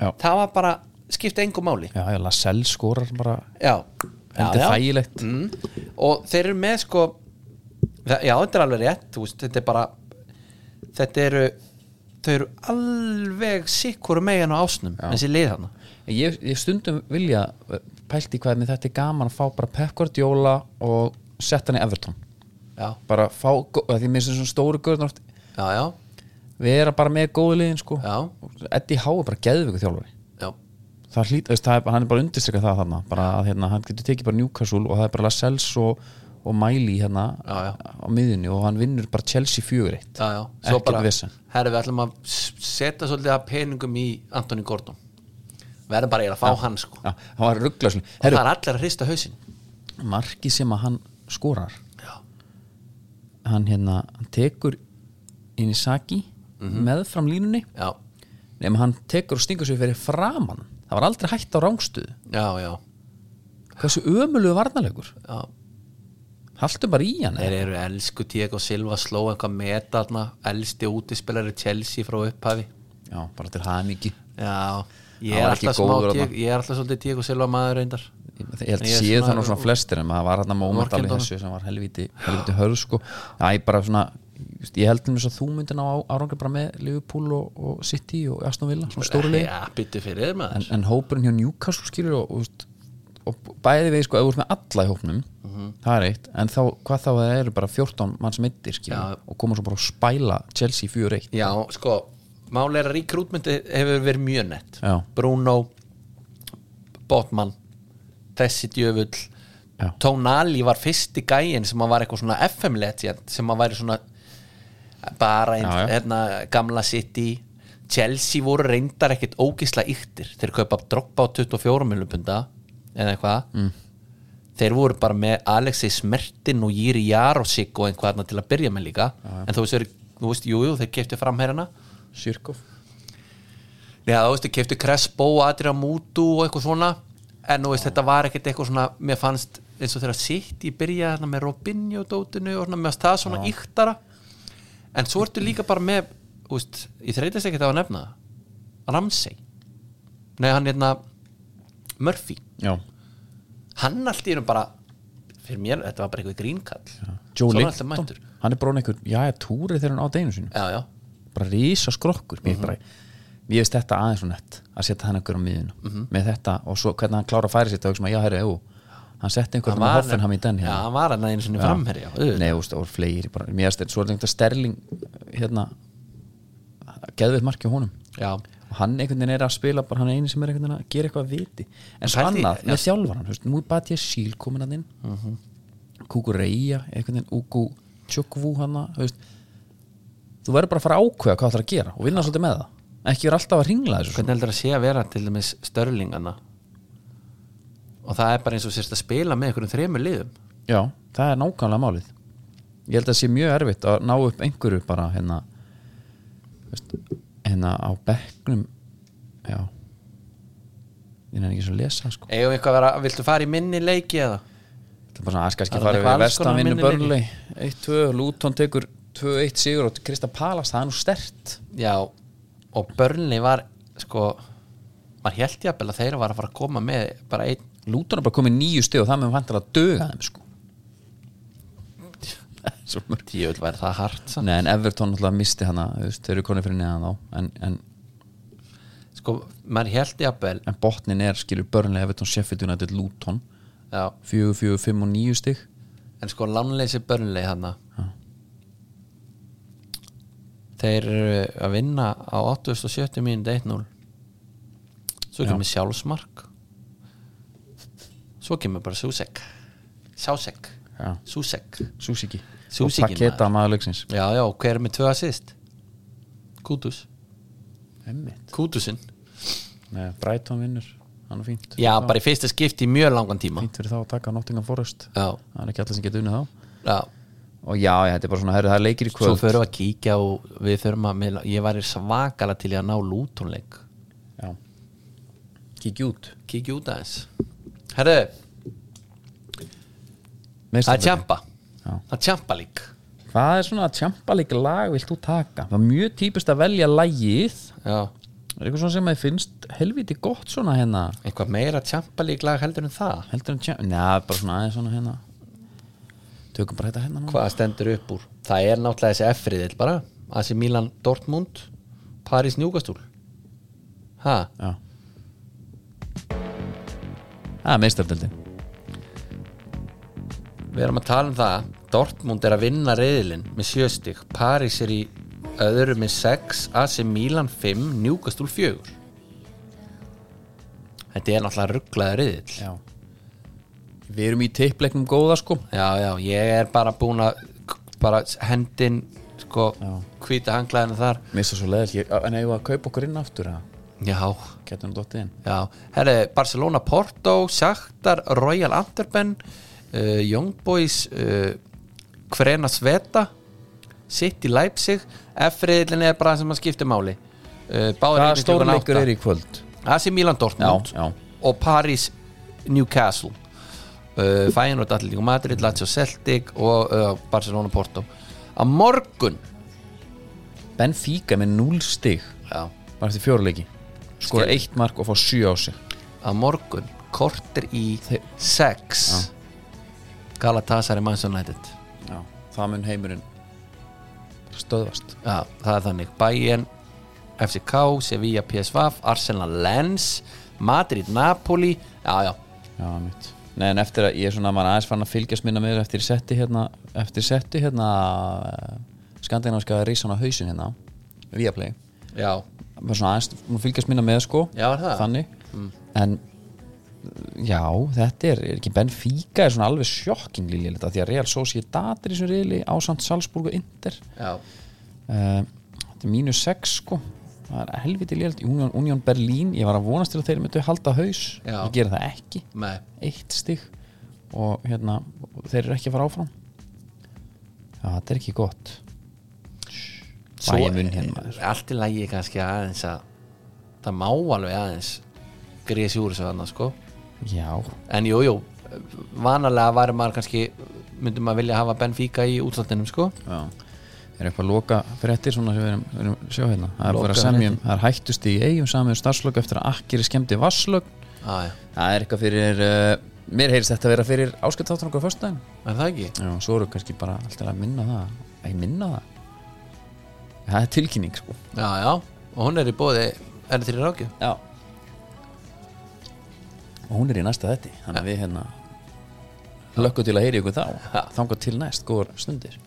Speaker 2: Já.
Speaker 3: það var bara, skipti engu máli
Speaker 2: já, já, Lascelles skorar bara,
Speaker 3: já, já,
Speaker 2: heldur
Speaker 3: já.
Speaker 2: þægilegt
Speaker 3: Mm. og þeir eru með sko það, já, þetta er alveg rétt þú veist, þetta er bara þetta eru, þau eru alveg sikkur um megin á ásnum þessi lið þarna
Speaker 2: Ég, ég stundum vilja eh, pælt í hvað með þetta er gaman að fá bara Pep Guardiola og setja hann í Everton
Speaker 3: já,
Speaker 2: bara fá, gó- af því mér sem svona stóru görðnar
Speaker 3: já, já,
Speaker 2: vera bara með góðu liðin sko
Speaker 3: Já.
Speaker 2: Eddie Howe er bara geðveiku þjálfari
Speaker 3: já.
Speaker 2: það hlýt, veist, það er, hann er bara undirstrykað það þarna bara að hérna, hann getur tekið bara Newcastle og það er bara Lascelles og, og Miley hérna
Speaker 3: Já, já.
Speaker 2: á miðunni og hann vinnur bara Chelsea fjögur eitt
Speaker 3: Já, já, svo
Speaker 2: Ekkert
Speaker 3: bara
Speaker 2: vesen.
Speaker 3: herri við ætlum að s- setja svolítið að peningum í Anthony Gordon verðum bara eiginlega að fá hann sko
Speaker 2: Já, hann var rugglaslu
Speaker 3: það
Speaker 2: Herru,
Speaker 3: er allir að hrista hausinn
Speaker 2: marki sem að hann skorar
Speaker 3: já,
Speaker 2: hann hérna, hann tekur Inisaki mm
Speaker 3: Mhm.
Speaker 2: -hmm. með fram línunni
Speaker 3: já,
Speaker 2: nema hann tekur og stingur sér fyrir framann það var aldrei hægt á rángstuð
Speaker 3: já, já,
Speaker 2: hversu ömulugu varnalegur
Speaker 3: já.
Speaker 2: haltu bara í hann
Speaker 3: þeir eru elsku Diego Silva sló eitthvað meta þarna elsti útispilari Chelsea frá upphafi
Speaker 2: já, bara til hamingi
Speaker 3: já, ég
Speaker 2: Hann
Speaker 3: er
Speaker 2: var ekki
Speaker 3: alltaf smá
Speaker 2: góður
Speaker 3: Diego-
Speaker 2: þarna.
Speaker 3: ég er alltaf svolítið Diego Silva maður reyndar
Speaker 2: ég held
Speaker 3: Ég er
Speaker 2: séð
Speaker 3: svona-
Speaker 2: þannig svona flestir en maður var hérna moment alveg
Speaker 3: Vorkenndunum.
Speaker 2: þessu sem var helviti, helviti hörð sko já, ég bara svona just, ég held um þess að þú myndir ná á- árangri bara með Liverpool og, og City og Aston Villa svona stóri leik
Speaker 3: já, byttu fyrir þér
Speaker 2: en,
Speaker 3: maður
Speaker 2: en hópurinn hjá Newcastle skilur og, og, veist, og bæði við sko ef þú ert með alla í hópnum
Speaker 3: Mhm.
Speaker 2: það er eitt, en þá, hvað þá að það eru bara 14 manns mittir
Speaker 3: Já.
Speaker 2: skilur og koma svo bara að spæla Chelsea 4-1
Speaker 3: já, sko, máli er að ríkrútmyndi hefur verið mjög nett
Speaker 2: Já.
Speaker 3: Bruno Botman þessi djöfull
Speaker 2: Já.
Speaker 3: Tónali var fyrsti gæin sem að var eitthvað svona FM legend sem að væri svona bara einn,
Speaker 2: Já, já.
Speaker 3: hérna, gamla City Chelsea voru reyndar ekkit ógisla yktir, þeir kaupa droppa á 24 miljupunda eða eitthvað mm. þeir voru bara með Alexei Smertin og Jiri Jarosik og einhvað þarna til að byrja með líka en þú veist, þeir- þú veist, jú, jú, þeir keftu framherjana
Speaker 2: Sirkov
Speaker 3: Nei, það, þú veist, ég kefti Crespo og Adria Mútu og eitthvað svona en þú veist, þetta var ekkert eitthvað svona mér fannst eins og þegar sitt ég byrja hérna, með Robinho dótinu og svona, mér fannst það svona yktara en svo ertu líka bara með þú veist, ég þreytist ekkert á að nefna það Ramsey nei, hann hérna Murphy,
Speaker 2: já,
Speaker 3: hann allt í erum bara fyrir mér, þetta var bara eitthvað grínkall
Speaker 2: Joe
Speaker 3: Svo er hann alltaf
Speaker 2: Linton
Speaker 3: mættur.
Speaker 2: hann er bara einhver, já, ég túri þegar hann á deginu sínu
Speaker 3: já, já,
Speaker 2: bara rísa skrokkur mér, bara, mér veist þetta aðeins og nett að setja hann einhver á miðinu með þetta og svo hvernig hann klára að færa sér þetta já, herri, jú, hann setti einhver með Hoffenham í den
Speaker 3: já,
Speaker 2: hérna.
Speaker 3: hann var hann einu sinni framherja auðvitað.
Speaker 2: Nei, þú veist, það voru fleiri bara, mér erst, svo er þetta sterling hérna geðveitt marki á honum
Speaker 3: já,
Speaker 2: og hann einhvern veginn er að spila bara hann er eini sem er einhvern veginn að gera eitthvað að viti en svo
Speaker 3: pældi-
Speaker 2: annað, með þjálfar hann, þú veist, nú er bara ég síl komin hann inn uh Kúku Reyja, einhvern veginn Ugu Tjökvú hann, þú veist þú verður bara að fara að ákveða hvað það er að gera og vinna svolítið með það, ekki verður alltaf að ringla þessu sko. svona.
Speaker 3: hvernig heldur að sé að vera til dæmis störlingana og það er bara eins og sérst að spila með einhverjum þremur liðum
Speaker 2: Já, það er nákvæmlega málið Ég held að það sé mjög erfitt að ná upp einhverju bara hérna veist, hérna á bekknum já ég nefnir ekki svo að lesa sko
Speaker 3: eigum við eitthvað að vera, viltu fara í minni leiki eða?
Speaker 2: Það er bara svona aðskæðski
Speaker 3: Það
Speaker 2: að
Speaker 3: er
Speaker 2: fara
Speaker 3: eitthvað
Speaker 2: við
Speaker 3: alls konar
Speaker 2: vestan vinnu
Speaker 3: minnileiki.
Speaker 2: börnlei 1-2, Lúton tekur 2-1 sigur og Krista Palas, það er nú stert
Speaker 3: Já, og börnli var sko, var held jafnvel að þeirra var að fara að koma með bara einn
Speaker 2: Lúton er bara komið nýju stið og það með vantar að döga þeim sko svo mörg
Speaker 3: Djöfull væri það hart
Speaker 2: Nei, en Everton náttúrulega misti hana þú veist, þeir eru konið fyrir neðan þá en, en,
Speaker 3: Sko, maður held jafnvel
Speaker 2: en botnin er skilur börnlega Everton, Sheffield United, Luton
Speaker 3: Já,
Speaker 2: 4, 4, 5 og 9 stig
Speaker 3: en sko lánleysi börnlegi hana Þeir eru að vinna á 870 mínúti 1-0 Svo kemur sjálfsmark Svo kemur bara Susek Sjásek
Speaker 2: Já.
Speaker 3: Susek
Speaker 2: Súsiki og
Speaker 3: Susiki,
Speaker 2: paketa maður leiksins
Speaker 3: Já, já, hver er með tvö assist? Kútus
Speaker 2: Einmitt.
Speaker 3: Kútusinn
Speaker 2: Nei, Brighton vinnur, hann er fínt
Speaker 3: Já,
Speaker 2: Þá-
Speaker 3: bara í fyrsta skipti í mjög langan tíma
Speaker 2: fínt fyrir þá að taka Nottingham Forest
Speaker 3: Já,
Speaker 2: það er ekki allir sem getur unnið þá
Speaker 3: já
Speaker 2: og já, já, þetta er bara svona, herri, það er leikir í
Speaker 3: Svo
Speaker 2: kvöld
Speaker 3: förum við að kíkja og við þurfum að miðla- ég væri svakala til ég að ná lútonleik
Speaker 2: já. kíkja út
Speaker 3: kíkja út aðeins Herðu, það er
Speaker 2: Meistaradeildin.
Speaker 3: tjampa
Speaker 2: Já.
Speaker 3: það er tjampa lík
Speaker 2: hvað er svona tjampalík lag vilt þú taka það er mjög típist að velja lagið
Speaker 3: Já.
Speaker 2: er eitthvað svona sem að þið finnst helviti gott svona hérna
Speaker 3: eitthvað meira tjampa lík lag heldur en það
Speaker 2: heldur en tjamp, neða, bara svona aðeins svona hérna tökum bara þetta hérna núna
Speaker 3: hvað stendur upp úr það er náttúrulega þessi F-riðil bara AC Milan Dortmund Paris Njúkastúl ha,
Speaker 2: já það er meistardöldin
Speaker 3: við erum að tala um það Dortmund er að vinna riðilinn með sjöstig Paris er í öðru með 6 AC Milan 5 Njúkastúl 4 þetta er náttúrulega rugglaður riðil
Speaker 2: já við erum í teipleiknum góða sko
Speaker 3: Já, já, ég er bara búin að bara hendin sko, hvíta hanglaðinu þar
Speaker 2: mista svo leðil, en eigum við að kaupa okkur inn aftur að
Speaker 3: Já,
Speaker 2: getum dottið inn
Speaker 3: já Herri, Barcelona Porto, Shakhtar Royal Antwerpen uh, Young Boys uh, Kverena Sveta City Leipzig F-riðlinn er bara það sem að skipta máli uh, Báður
Speaker 2: hvaða stórleikur er í kvöld
Speaker 3: AC Milan Dortmund
Speaker 2: Já, já.
Speaker 3: og Paris Newcastle uh, Feyenoord Atletico Madrid, Lazio Celtic og uh, Barcelona Porto að morgun
Speaker 2: Benfica með 0 stig
Speaker 3: já,
Speaker 2: bara eftir fjóruleiki skora
Speaker 3: Skelfing.
Speaker 2: eitt mark og fá 7 á sig
Speaker 3: að morgun kortir í 6 Galatasaray Manchester United
Speaker 2: já. það mun heimurinn stöðvast
Speaker 3: já, það er þannig Bayern, FCK, Sevilla PSV, Arsenal Lens Madrid Napoli já, já,
Speaker 2: já, mitt Nei, en eftir að ég er svona, maður aðeins fann að fylgjast minna með þér eftir ég setti hérna, eftir ég setti hérna skandinaviska rísan á hausin hérna via play,
Speaker 3: já,
Speaker 2: maður svona aðeins maður fylgjast minna með sko,
Speaker 3: Já, er það? Mm.
Speaker 2: þannig en já, þetta er, er ekki Benfica er svona alveg sjokkingli lélita, því að Real Sociedad er í svona reyli ásamt Salzburg og Inter
Speaker 3: já.
Speaker 2: Eh, Þetta er mínus 6 sko Það er helviti lélt Union, Union Berlin, ég var að vonast til að þeir myndu halda haus
Speaker 3: Já.
Speaker 2: Ég gera það ekki
Speaker 3: Nei.
Speaker 2: Eitt stig Og hérna, og þeir eru ekki að fara áfram Já, þetta er ekki gott
Speaker 3: Svo eh,
Speaker 2: Bæja munn hérna maður.
Speaker 3: allt í lagi kannski aðeins að það má alveg aðeins grísi úr þessu annars sko
Speaker 2: Já,
Speaker 3: en jú, jú, vanalega væri maður kannski myndum maður vilja hafa Benfica í útlandinum sko
Speaker 2: Já. Er eitthvað loka fréttir svona sem við erum, við erum sjá hérna Það er
Speaker 3: Loka
Speaker 2: fyrir að semjum, það er hættust í eigum samið um starfslög eftir að akkir er skemmti vasslög
Speaker 3: ah, já.
Speaker 2: Það er eitthvað fyrir uh, Mér heyrist þetta að vera fyrir áskiptáttur okkur á föstudaginn
Speaker 3: er það ekki?
Speaker 2: Já, svo eru kannski bara alltaf að minna það Æ, minna það Það er tilkynning, sko
Speaker 3: Já, já, og hún er í bóði er þetta í rákju?
Speaker 2: Já Og hún er í næsta þetti Þannig að við hérna Lökku til að heyri ykkur þá
Speaker 3: Ja.
Speaker 2: Þangað til næst, góðar stundir